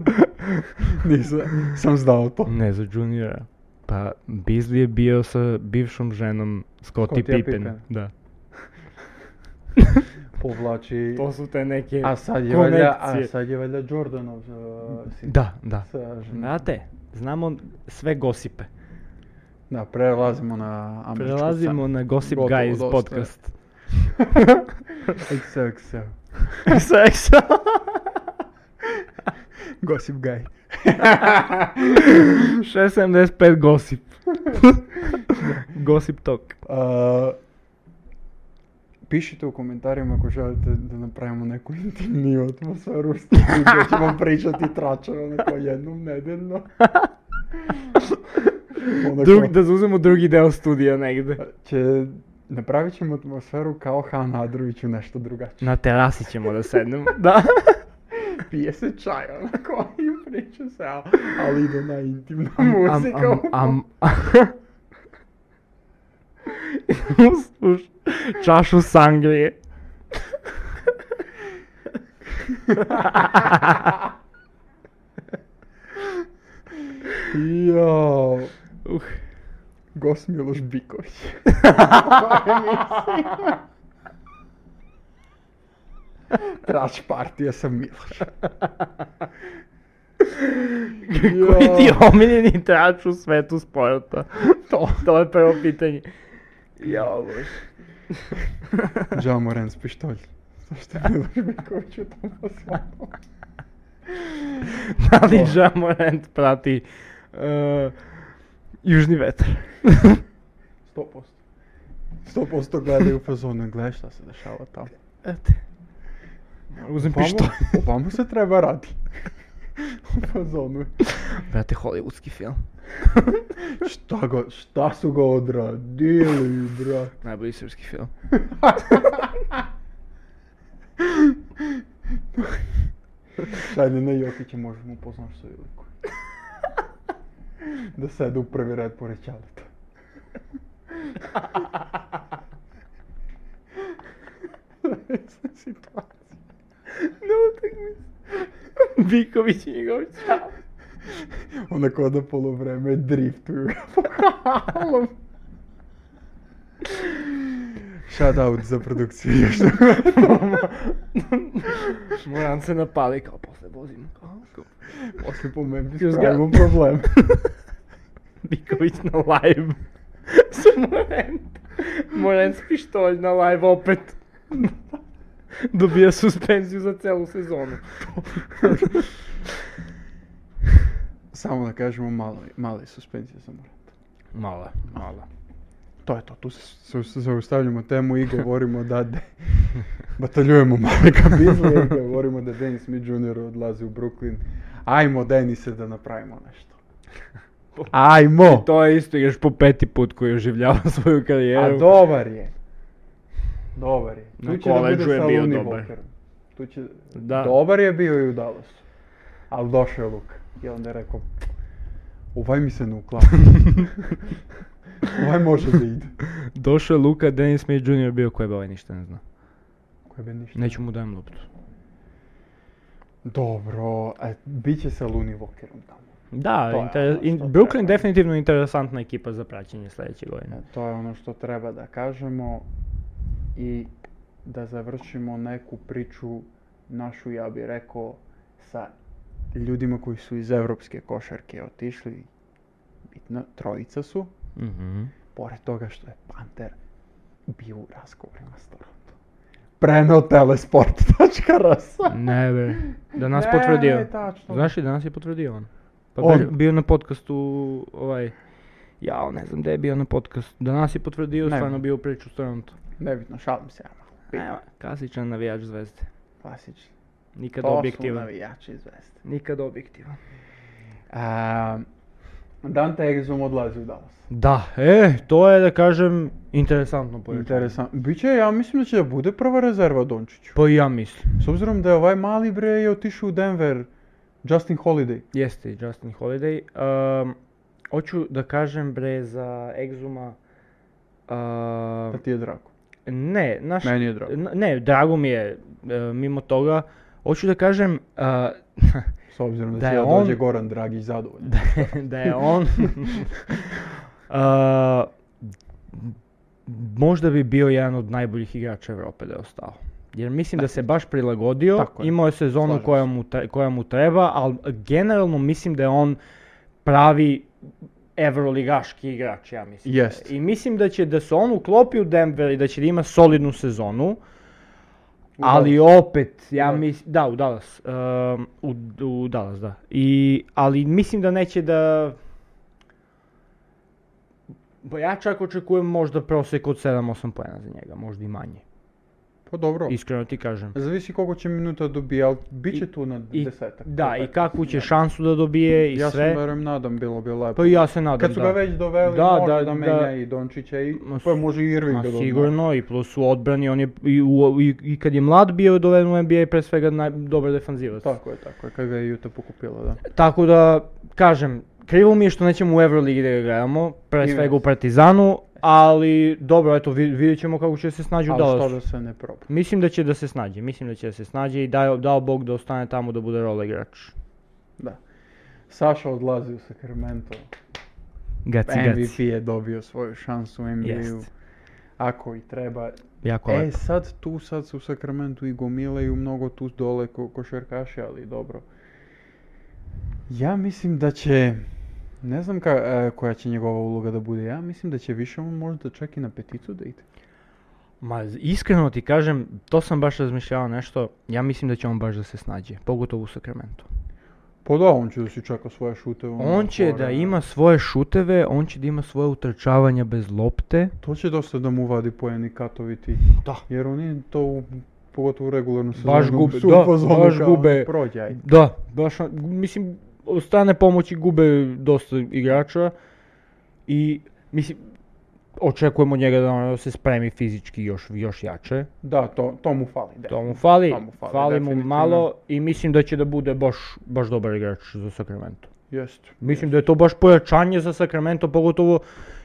Nisam, sam znao to.
Не, за Джуниора. Па Бизли е био со бившом женом Скоти
Скотија
Пипен.
Пипен.
Да.
Povlači...
су те неке
A sad je valjda, a sad je valjda Jordanov uh, sin.
Да, да.
Sa ženom.
Знате, знамо све госипе.
Da, prelazimo na američku
Прелазимо на Gossip
Готово,
Guys
доста е.
подкаст.
XXL.
Секс.
Gossip Guy.
675 Gossip. Gossip Talk.
А, пишете у коментарима ако желите да направимо некој интимни атмосферу што ќе вам причат и трачено некој едном неделно. Онако,
Друг, да зауземо други дел студија негде.
Ќе направи ќе атмосферу као Хан Адрович у нешто другаче.
На тераси ќемо да седнемо. да.
Пие се чај, онако и прича се, а- али иде на интимна
Ам,
музика.
ам, ам. Слуш, чашу сангрие.
Јо,
Ух.
Гос Милош Биковиќ. Траш партија сам Милош.
Кој ти е омилени трач у свету спорта? То, тоа е прво питање. Јао, Боже.
Джо Морен с пиштолј. Зашто е Милош Биковиќ у тоа слабо?
Дали Жаморент прати е, Јужни ветар?
100%. 100% гледај у фазону, гледај што се дешава таму.
Ете. Узем пиштој.
Ваму се треба ради. У фазону.
Брате, холивудски филм.
Шта го, шта су го одрадили, брат?
Најболи српски филм.
Шајде на Јокиќа може да му познаш со Илико. да седе у први ред по речалата. ситуација.
Много такви. Биковиќ и негов чал.
Онако да полувреме дрифтуju га по халом. Shout out за продукција.
Моран се напали, као после возим. Као,
После по мен би
Јас га-
справимо проблем.
Биковиќ на лајв. Со Морент. Морент с пиштолј на лајв опет. Добија суспензију за целу сезону.
Само да кажемо мала, мала е суспензија за море.
Мала, мала.
Тоа е тоа, ту се, се, се зауставljamo тему и говоримо да де, батаљуемо Малека Бизлија и говоримо да Денис Мид Джуниор одлази у Бруклин. Ајмо, дени се да направимо нешто. Ајмо!
Тоа е исто играш по пети пут кој оживљава своју
А
кариеру.
добар е. Добар е.
На
Ту ќе да
колеџу
биде
е био
Салуни
добар.
Вокер. Ту ќе...
Да.
Добар е био и у Даласу. Ал дошел Лук. И онда е рекол, овај ми се не уклапа. овај може да иде.
Доше Лука, Денис Смит Джуниор био кој бе, овој ништа не зна.
Кој бе ништо.
Неću му даjem лопту.
Добро, а биќе се Луни Вокером таму.
Да,
Тоа е
интерес...
оно
ин...
што
Бруклин
треба.
дефинитивно интересантна екипа за праќење следеće
Е,
година.
Тоа е оно што треба да кажемо и да завршимо неку причу нашу, ја би рекол, са људима кои су из европске кошарке отишли, битно, тројца су,
Мгм.
поред тога што е Пантер бил у разговорима с Торонто. Прено телеспорт.рс
Не бе, данас
Не,
потврдио.
не, тачно.
Знаш ли, данас е потврдио он. Па
Он.
беше- био на подкасту, овај, јао, не знам де е био на подкаст. Данас е потврдио,
Не.
стварно био пречу странното.
Небитно, шалам се, ама.
Ева, класичен навијач звезде.
Класични.
Никада
Тоа су
објективен.
навијачи извести.
Никада објективен.
E, Данте Егзум одлази у Далас.
Да, е, тоа е да кажем интересантно појачење.
Интересантно. Биќе, ја мислам да ќе да биде прва резерва Дончичу.
Па и ја мислам.
С обзиром да е овај мали бре е отишел у Денвер, Джастин Холидей.
Јесте и Джастин Холидей. Ам, Очу да кажем бре за Екзума. ам,
Да ти е драго.
Не, наш...
Мени е драго.
Н- Не, драго ми е, е, мимо тога. Очу да кажем а,
С обзиром да,
Да
ќе
е
ја
он-
дојде Горан Драги задоволен.
да, е- да е он. Uh, а, можда би био еден од најбољих играча Европе да е остао. Jer mislim da se baš prilagodio,
Tako je.
imao je sezonu
Slažem
koja mu, tre- koja mu treba, ali generalno mislim da je on pravi evroligaški igrač, ja mislim. da je.
Jest.
I mislim da će da se on uklopi u Denver i da će da ima solidnu sezonu, ali opet, ja
Dallas.
mislim, da, u Dallas, um, u, u Dallas, da. I, ali mislim da neće da, Ba, ja čak očekujem možda prosek od 7-8 poena za njega, možda i manje.
Па добро.
Iskreno ti kažem.
Зависи колку ќе минута добија, ал биќе ту на
I,
десетак.
da, i
петнаесет.
kakvu će šansu da dobije i
Јас се
sve.
барем надам било би лепо.
Pa i ja se nadam,
Кад су га
da.
веќе довели,
Да,
може
да,
да,
да.
менја и Дончича и
Ма
па
с-
може и Ирвинг
Ma
да добија.
sigurno, i plus u odbrani, on je i, u, i, i kad je mlad bio doveden u NBA, pre svega naj, dobar defanzivac.
Тако е, тако е, кога ga je Juta pokupila, da.
Tako da, kažem, krivo mi je što nećemo u Euroligi da ga gledamo, pre
I
svega
nas.
u Partizanu, ali dobro, eto, vi- vidjet ćemo kako će se snađi u
Ali što
Dallasu.
da se ne proba.
Mislim da će da se snađe, mislim da će da se snađe i dao, dao Bog da ostane tamo da bude rola igrač.
Da. Saša odlazi u Sacramento.
Gaci,
MVP je dobio svoju šansu u NBA-u.
Jest.
Ako i treba.
Jako
E, sad tu, sad su u Sacramento i gomilaju mnogo tu dole ko, košarkaše, ali dobro. Ja mislim da će, ne znam ka, e, koja će njegova uloga da bude, ja mislim da će više on možda čak i na peticu da ide.
Ma, iskreno ti kažem, to sam baš razmišljao nešto, ja mislim da će on baš da se snađe, pogotovo u Sakramentu.
Pa da, on će da si čeka svoje šute. ono,
On će da
fore.
ima svoje šuteve, on će da ima svoje utrčavanja bez lopte.
To će dosta da mu vadi pojeni katovi ti.
Da.
Jer oni to u, pogotovo u regularnu sezonu.
Baš gube,
su u
da,
fazonu
baš
kao,
gube.
Prođi, ajde.
Da, baš, on- mislim, od strane pomoći gube dosta igrača i, mislim, očekujemo od njega da ono se spremi fizički još, još jače.
Da, to, to mu fali. definitivno.
To mu fali,
To mu fali,
fali mu
definitivno.
malo i mislim da će da bude baš, baš dobar igrač za Sacramento.
Jest.
Mislim da je to baš pojačanje za Sacramento, pogotovo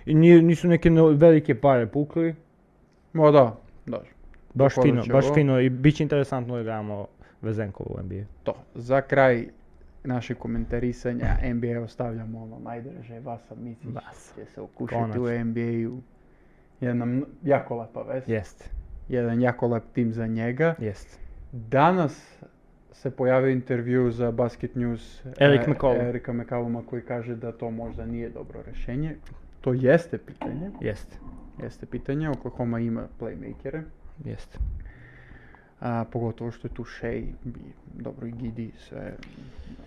i nije- nisu neke no- velike pare pukli.
Ma da, da.
Baš
Tako da
fino,
će
baš
ovo-
fino i bit će interesantno da gledamo Vezenkova u NBA.
To. Za kraj našeg komentarisanja NBA ostavljamo ono najdraže Vasa Micić.
Vasa.
Će se okušiti
Konačno.
u NBA-u. Jedna mn- jako lepa vest.
Jeste,
Jedan jako lep tim za njega.
jeste.
Danas se pojavio intervju za Basket News
Eric
e,
McCollum.
Erika McCalluma koji kaže da to možda nije dobro rješenje. To jeste pitanje.
Jeste,
Jeste pitanje. Oklahoma ima playmakere.
jeste.
A, pogotovo što je tu Shea, i dobro i Gidi, sve.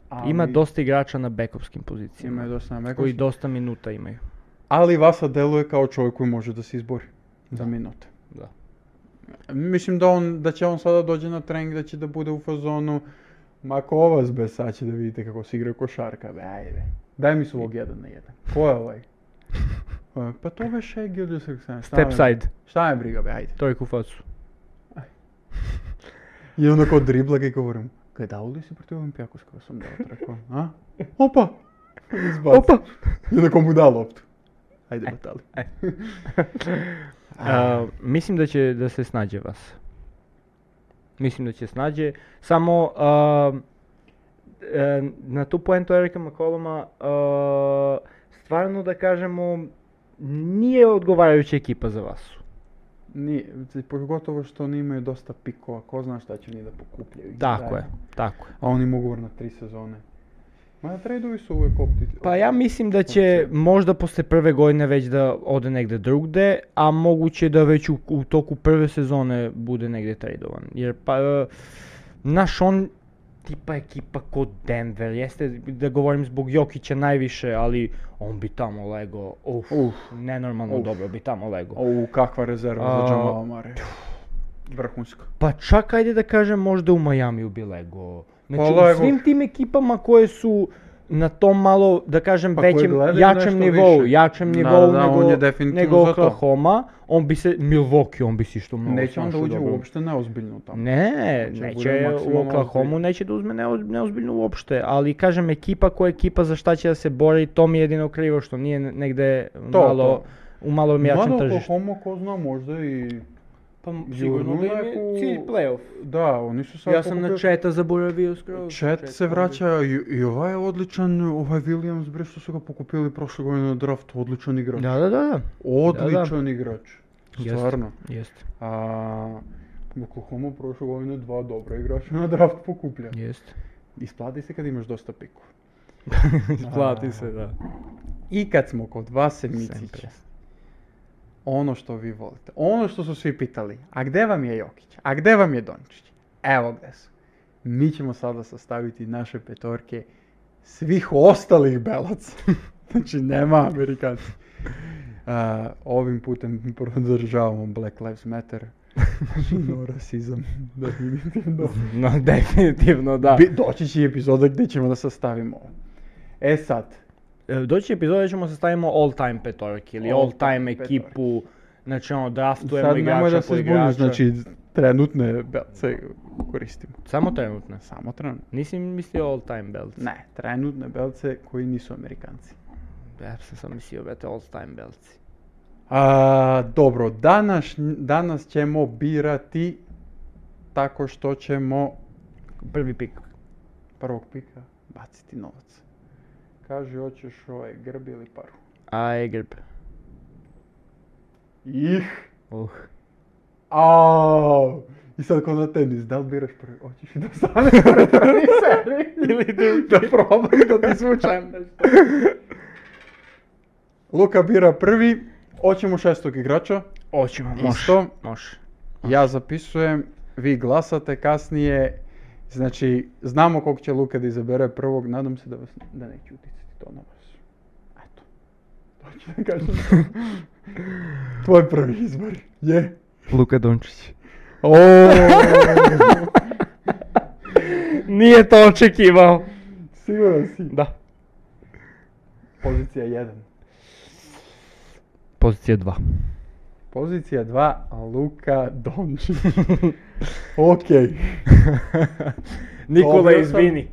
Ali
Ima dosta igrača na bekovskim pozicijama,
Imaju dosta na
koji
koji
dosta minuta imaju.
Ali Vasa deluje kao čovjek koji može da se izbori za minute.
Da.
Mislim da, on, da će on sada dođe na trening, da će da bude u fazonu Мако ова бе, сад ќе да видите како се игра кошарка, бе, ајде. Дај ми слог еден на еден. Кој е овај? Е, Па тоа беше Георгиос Александров. Шта ме-
Step side.
Шта ме брига, бе, ајде.
Тој куфацу.
И онако дрибла и говорим, гледал ли си против Олимпијакос кога сам да дал тракон, а? Опа! Избаци.
Опа!
И онако му дал лопту. Ајде, батали.
А, мислим да ќе да се снаđе вас. Мислим да ќе снаđе. Само а, е, на ту поенту Ерика Маколома а, стварно да кажемо ние одговарајуќа екипа за вас.
Ни, поготово што они имају доста пикова, ко зна шта ќе ни да покупљају.
Тако е, тако е.
А он има уговор на три сезоне. Ма трейдови су увек опти.
Па ја мислим да ќе можда после прве година веќе да оде негде другде, а могуќе да веќе у, у току прве сезоне буде негде трейдован. Јер па е, наш он типа екипа код Денвер, јесте да говорим због Јокича највише, али он би тамо лего, уф,
Уф.
ненормално
Уф.
добро би тамо лего.
Оу, каква резерва
А,
за Джамала Маре. Врхунска.
Па чак ајде да кажем можда у Мајами би лего. Значи,
Па,
у
лего.
свим тим екипама кои су на том мало, да кажем,
Па, кои
веќе
гледају
јачем
нешто
нивоу,
више.
јачем
Да,
нивоу
да,
него,
он е дефинитивно
него
за тоа.
Оклахома, он би се Милвоки, он би си што многу
Неќе он да
снаше
уѓе
добро.
уопште неозбилно таму.
Не,
Значи,
неќе
буде
у
максимално
Оклахому неќе да узме неоз- неозбилно уопште, али кажем екипа која екипа за шта ќе да се бори, то ми е едино криво што ние негде
То,
мало у мало мјачен
Мада
тржиште.
Оклахома, ко зна, можда и...
Па
сигурно да им е цилј
плейоф.
Да, они су сега
Ја сум на
покупили-
чета заборавио скроз.
Чет се враќа и, и ова е одличен, овај Вилијамс бре што се го покупили прошле година на драфт, одличен играч.
Да, да, да, да.
Одличен играч.
Јест.
Стварно.
Јест,
А Оклахома прошле година два добра играча на драфт покупља.
јест.
Исплати се кога имаш доста пиков.
Плати се, да.
И кад смо код вас седмици, оно што ви волите, оно што су сви питали, а где вам је Јокиќ, а где вам је Дончиќ, ево где су. Ми ќемо сада составити наше петорке свих осталих белаца. значи нема американци. А, овим путем продржавamo Black Lives Matter. Znači, Значи, но расизам, да видите добро.
Но дефинитивно да.
Би- Доći će i epizoda gdje ćemo da sastavimo ovo. E sad,
Е, Дојче епизода ќе му составимо all time петорки или all
All
time Znači, ono,
time
екипу, значи оно драфтуемо
sad nemoj
играча
da
по
se
играча.
zbuniš, znači trenutne belce koristimo.
Само тренутно.
Samo trenutne.
Нisi мислио all time belts.
Ne, trenutne belce koji nisu amerikanci.
Ја се сам мислио бете all time belts.
A, dobro, danas, danas ćemo birati tako što ćemo
Први пик.
prvog pika baciti novac. Kaži, hoćeš ovaj grb ili paru?
А е грб.
Ih!
Ух.
Ау! И сад кога на тенис, да ли бираш први? Очиш и да станеш први серви?
Или други.
да пробам да ти случајам нешто. Лука бира први, очимо шестог играча.
Очима, може.
Исто.
Може.
Ја записувам, ви гласате касније. Значи, знамо колку ќе Лука да избере првог, надам се да вас да не ќе утицати тоа на вас. Ето. Тоа ќе да кажам. Твој први избор е
Лука Дончич.
О,
Ние тоа очекивал.
сигурен си.
Да.
Позиција 1.
Позиција 2.
Позиција 2, Лука Дончич. Океј.
Никола,
Добио сам.
извини.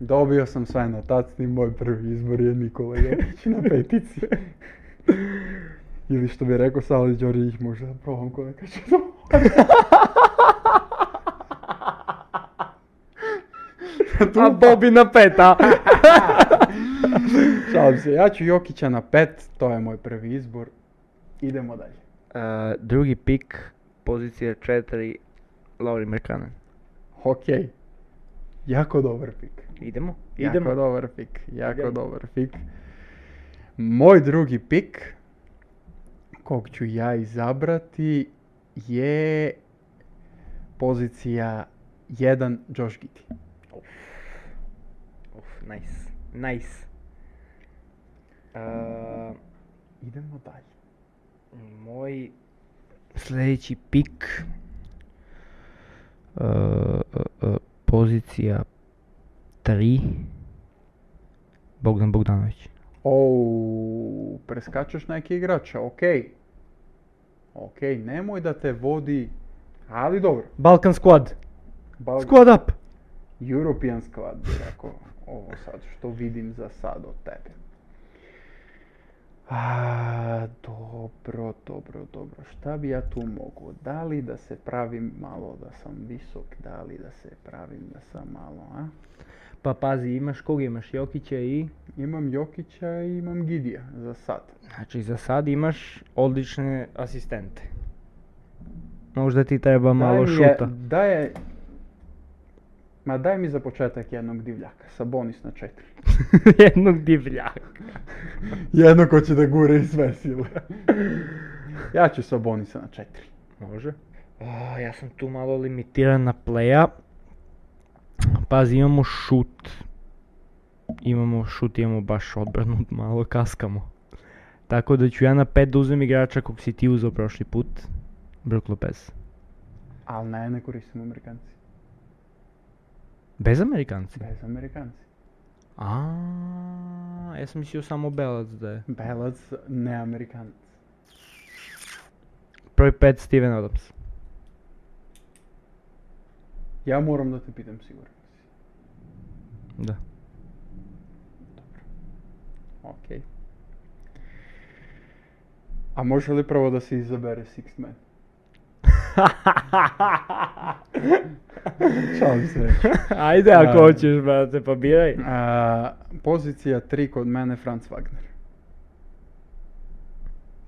Добио сам све нотации, мој први избор е Никола Јокич на петици. Или што би рекол Сали Ѓорѓиќ, може да пробам кој да каже
А Боби на пета.
Шалам се, ја ќу Јокича на пет, тоа е мој први избор. Идемо даље.
А, други пик, позиција 4, Лаури Мерканен.
Океј. Јако добар пик.
Идемо?
Јако
Идемо.
добар пик,
Идемо.
јако добар пик. Мој други пик, ког ќу ја изабрати, е позиција 1 Джош Гити.
Уф, најс. Најс. А,
Идемо даље.
Мој следеќи e, пик а, а, а, позиција 3 Богдан Богдановиќ.
Оу, прескачаш неки играч, окей. Окей, немој да те води, али добро.
Балкан склад.
Бал...
Склад ап.
European squad, би рекол, ово сад што видим за сад од тебе. А, добро, добро, добро. Шта би ја ту могу? Дали да се правим мало да сам висок, дали да се правим да сам мало, а?
Па пази, имаш кога имаш Јокиќа и
Имам Јокиća и имам Гидија за сад.
Значи за сад имаш одлични асистенти. Можда ти треба мало
Дај ми е-
шута.
Дај е... Ма дај ми за почеток едног дивљака, Сабонис на 4.
Едног дивљак.
Jedno ko će da gure i sve sile. ja ću Sabonisa na 4.
Може. А, јас сум ту мало лимитиран на плеја. Пази, имамо шут. Имамо шут, имамо баш одбрана, мало каскамо. Така да ќе ја на 5 да узем играча кој си ти узел прошли пут. Брук Лопес.
Ali ne, ne koristim Amerikanci.
Без американци?
Bez Amerikanci.
А, јас сум мислил само белец да е.
Belac, ne Amerikanac.
Број 5 Стивен Адамс.
Ja moram da te pitam sigurno.
Да.
Ok. A može li prvo da se izabere Sixth Man? Šalim se.
Ајде ако
Да.
hoćeš, брате, па бирај.
A, pozicija 3 kod mene Franz Wagner.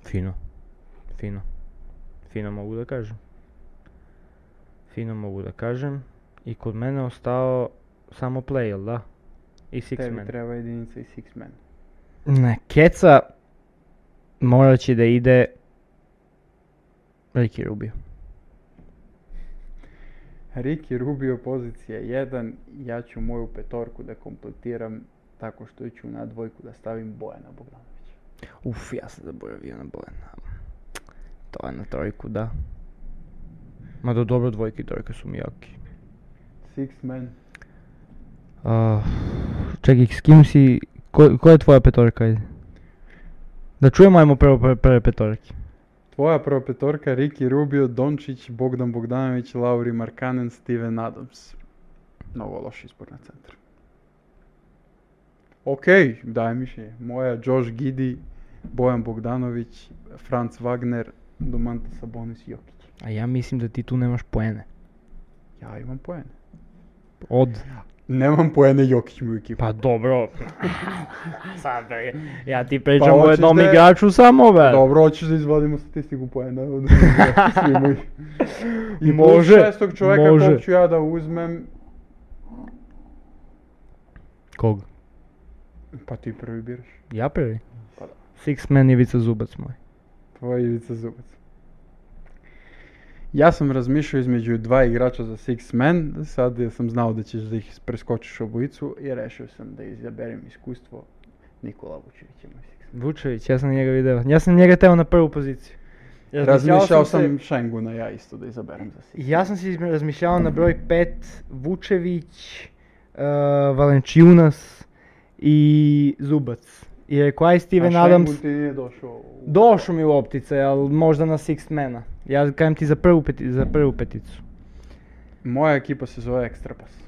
Фино. Фино. Фино могу да кажам. Фино могу да кажам. И код мене остава само плей, ел да? И Six
Tebi
Man.
treba jedinica i Sixth Man.
На кеца мора ќе да иде Рики Рубио.
Riki Rubio pozicija 1, ja ću moju petorku da kompletiram tako što ću na dvojku da stavim Bojana Bogdanovića.
Уф, јас се заборавио на Болена. Тоа е на тројку, да. Ма до добро двојки и тројка су ми јаки.
Six man,
А, чеки, с ким си... Кој, кој е твоја петорка, ајде? Да чуем ајмо прво пр- прве петорки.
tvoja prva petorka Riki Rubio, Dončić, Bogdan Bogdanović, Lauri Markanen, Steven Adams. Mnogo loš izbor na centar. Ok, daj mišljenje. Moja Josh Gidi, Bojan Bogdanović, Franz Wagner, Domanta Sabonis, Jokić.
А ја мислим да ти ту немаш поене.
Ja imam poene.
Од.
Nemam poene Jokić mi u ekipu.
Па добро. Сад, бе, ја ти
Па,
причам о
очиш
едном
да е-
играчу само, бе.
Pa Dobro, hoćeš da izvadimo statistiku poena od svi moji. I
Može,
može, šestog čovjeka
može.
kog ću ja da uzmem,
Ког?
pa ti prvi biraš.
Ја први.
Па да.
Six Man Ивица Зубац мој.
Tvoja Ivica Zubac. Ja sam razmišljao između dva igrača za Six Man, sad jer sam znao da ćeš da ih preskočiš obojicu i rešio sam da izaberem iskustvo Nikola Vučevića. moj Six Man.
Вучевиќ, јас сам njega видео. Јас сам njega тео на прву позиција.
Razmišljao sam Šenguna ja isto da izaberem za Six
Јас сам си изме- размишљавал на број 5 Вучевиќ, э, Валенчиунас и Зубац. И рекоа
Man.
и
A
Стивен
Šengun
Адамс.
ti nije došao u...
Дошло ми во оптица, ал можда на Sixth Man-а. Јас кажам ти за прву пети, за прву петицу.
Moja ekipa se zove Ekstrapas.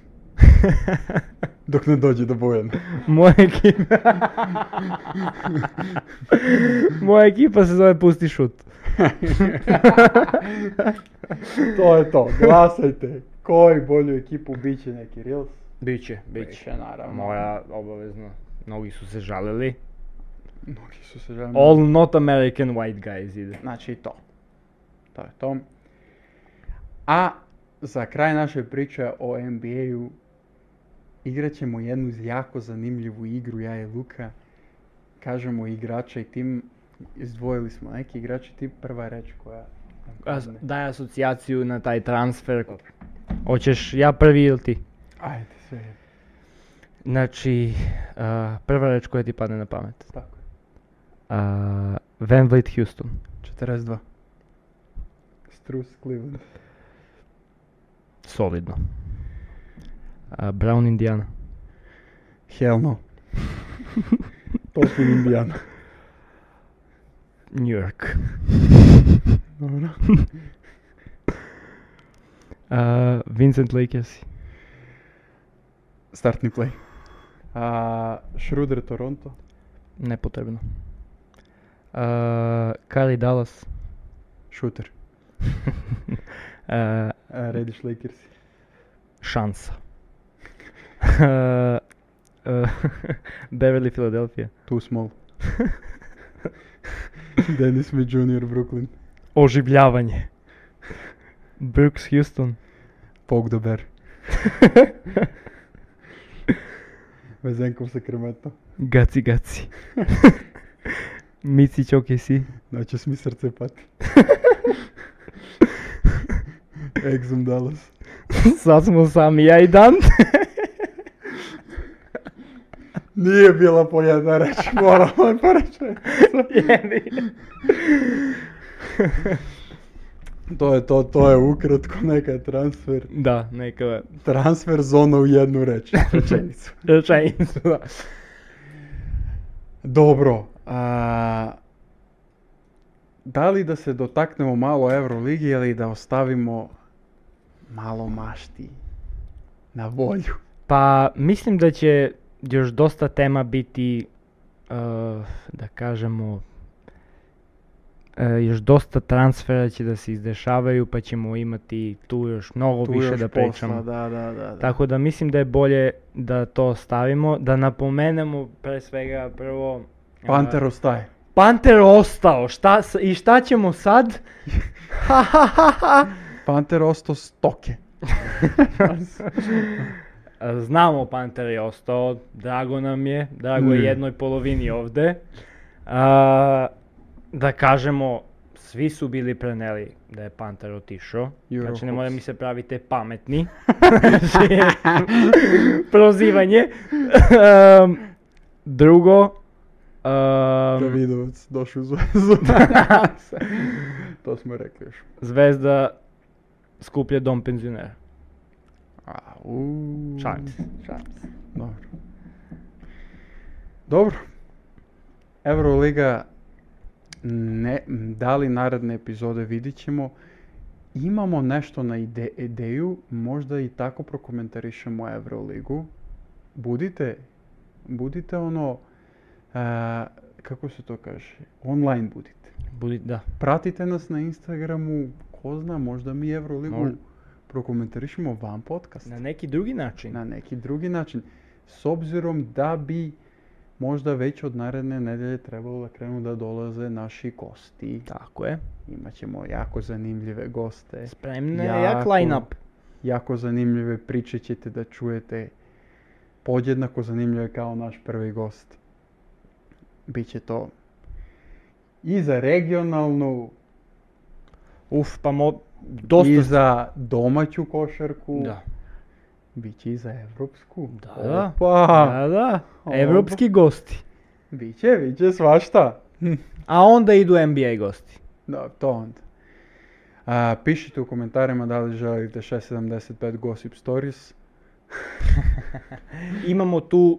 Dok ne dođe do Bojana.
Моја екипа. Моја екипа се зове Пусти шут.
to je to, glasajte. Koji bolju ekipu bit će neki Reels?
Биче,
Biće, naravno.
Моја обавезно. Многи су се жалели.
Mnogi su se želim...
All not American white guys иде.
Znači to. To je to. A za kraj naše priče o NBA-u igrat ćemo jednu jako zanimljivu igru, ja i Luka. Kažemo igrača i tim, izdvojili smo neki igrači, ti prva je reč koja... nam
Аз
padne.
дај асоцијацију на тај трансфер. Очеш ја први или ти?
Ajde, sve je.
Значи, а, прва реч која ти падне на памет.
Tako je.
А, Вен Влит Хјустон.
42. Strus Cleveland.
Солидно. А, Браун Индијана.
Hell no. Толку Индијана.
Нью-Йорк.
Добро.
А, Винсент Лейкерси.
Стартни плей. А, Шрудер Торонто.
Непотребно. А, Кайли Далас.
Шутер.
А,
А, Редиш Лейкерси.
шанса. А, а, Беверли Филаделфија.
Ту смол. Денис Мид Джуниор Бруклин.
Оживљавање. Брукс Хјустон.
Пок до Бер. Везенков Сакраменто.
Гаци Гаци. Мици Чокеси.
Значи сми срце пати. Екзум Далас.
Сад смо сами ја и Дан.
Nije bila po jedna reč, moramo je po
Jebi.
To je to, to je ukratko neka transfer.
да, нека
Transfer zona u jednu reč, rečenicu.
речаницу. да.
Dobro, a, da li da se dotaknemo malo Euroligi ili da ostavimo malo mašti na volju? Pa,
Па, мислим да ќе још доста тема
e,
бити, е, да кажемо, е,
e,
још доста трансфера ќе да се издешавају, па ќемо имати ту још многу
pa Tu
више
još
да
posla,
пречам.
Da, da, da, da.
Така да мислим да е боле да тоа оставимо, да напоменемо пре свега прво е,
Panter ostaje.
Пантер остао, шта с- и шта ќемо сад? Ха-ха-ха-ха.
Panter osto stoke.
А, Знамо Пантер е остао, драго нам е, драго е
Не.
едној половини овде. А, да кажемо, сви су били пренели да е Пантер отишо. Значи не мора ми се правите паметни. Значи, Прозивање. Ам, Друго, ам,
Davidovac došao u zvezdu. to smo rekli još.
Звезда скупља дом пензионера.
Au.
Шанс, шанс.
Dobro. Dobro. Euroliga, ne, da li naredne epizode vidit ćemo. Imamo nešto na ide, ideju, možda i tako prokomentarišemo Euroligu. Budite, budite ono, e, kako se to kaže, online budite.
Буди, да.
Pratite nas na Instagramu, ko zna, možda mi Euroligu
Možda.
prokomentarišemo van podcasta
На неки други начин.
na neki drugi način. S obzirom da bi možda već od naredne nedelje trebalo da krenu da dolaze naši gosti.
Тако е.
Imaćemo jako zanimljive goste,
Спремна е
Јако.
јак лајнап.
jako zanimljive priče ćete da čujete. Podjednako zanimljive kao naš prvi gost. Biće to i za regionalnu,
Уф, па мо... Доста...
i за домаћу кошарку,
Да.
biće i za evropsku.
Да, да.
Opa!
Да, да. Европски гости.
Biće, biće svašta.
А онда иду NBA гости.
Da, to onda. A, pišite u komentarima da li želite 675 Gossip Stories.
Имамо ту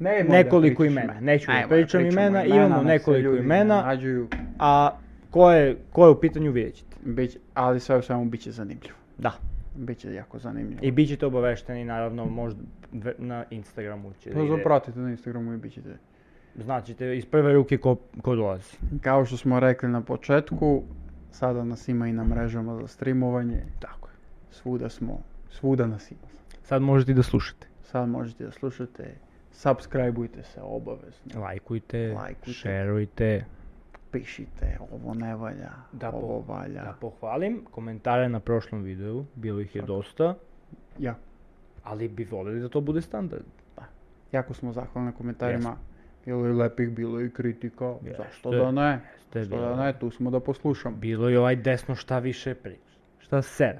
Ne,
Nekoliko imena, neću da pričam imena, imamo nekoliko imena.
Nađuju,
А кој е, кој е у питању видjet ćete.
bić, ali sve u svemu bit će zanimljivo.
Da.
Bit će jako zanimljivo.
И биćete обавештени наравно možda ве- на Инстаграму ќе да
To
иде.
zapratite na Instagramu i bit ćete.
Значите из прве руке ко ко долази.
Kao što smo rekli na početku, sada nas ima i na mrežama za streamovanje.
Тако е.
Svuda smo, svuda nas ima.
Сад можете и да слушате.
Sad možete da slušate, subscribeujte se obavezno.
Лајкујте,
Лајкујте.
шерујте.
Pišite, ovo ne valja,
Da, po-
ovo valja.
Да похвалим коментаре на прошлом видео, било их е доста,
Ja,
али би волели да тоа буде стандард.
jako smo zahvalni na komentarima. Bilo je lepih, bilo je i kritika.
Jeste.
Zašto da ne?
Jeste,
Što
bilo
da ne, tu smo da poslušamo.
Bilo je ovaj desno šta više priča. Šta ser.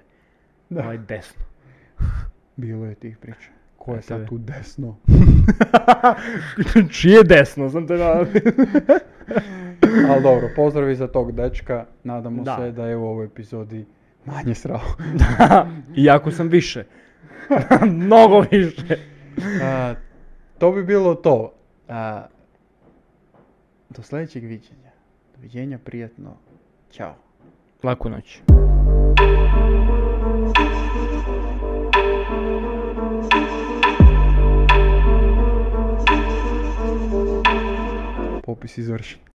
Ovaj desno.
Bilo je tih priča. Ko je
Eto je.
sad tu desno?
Čije desno, znam te da...
Ali dobro, pozdravi za tog dečka. Nadamo
Da.
se da je u ovoj epizodi manje srao.
Iako sam više. Mnogo više.
A, to bi bilo to. A, do sljedećeg viđenja. Doviđenja, prijatno. Ćao.
Laku noć.
Popis izvršen.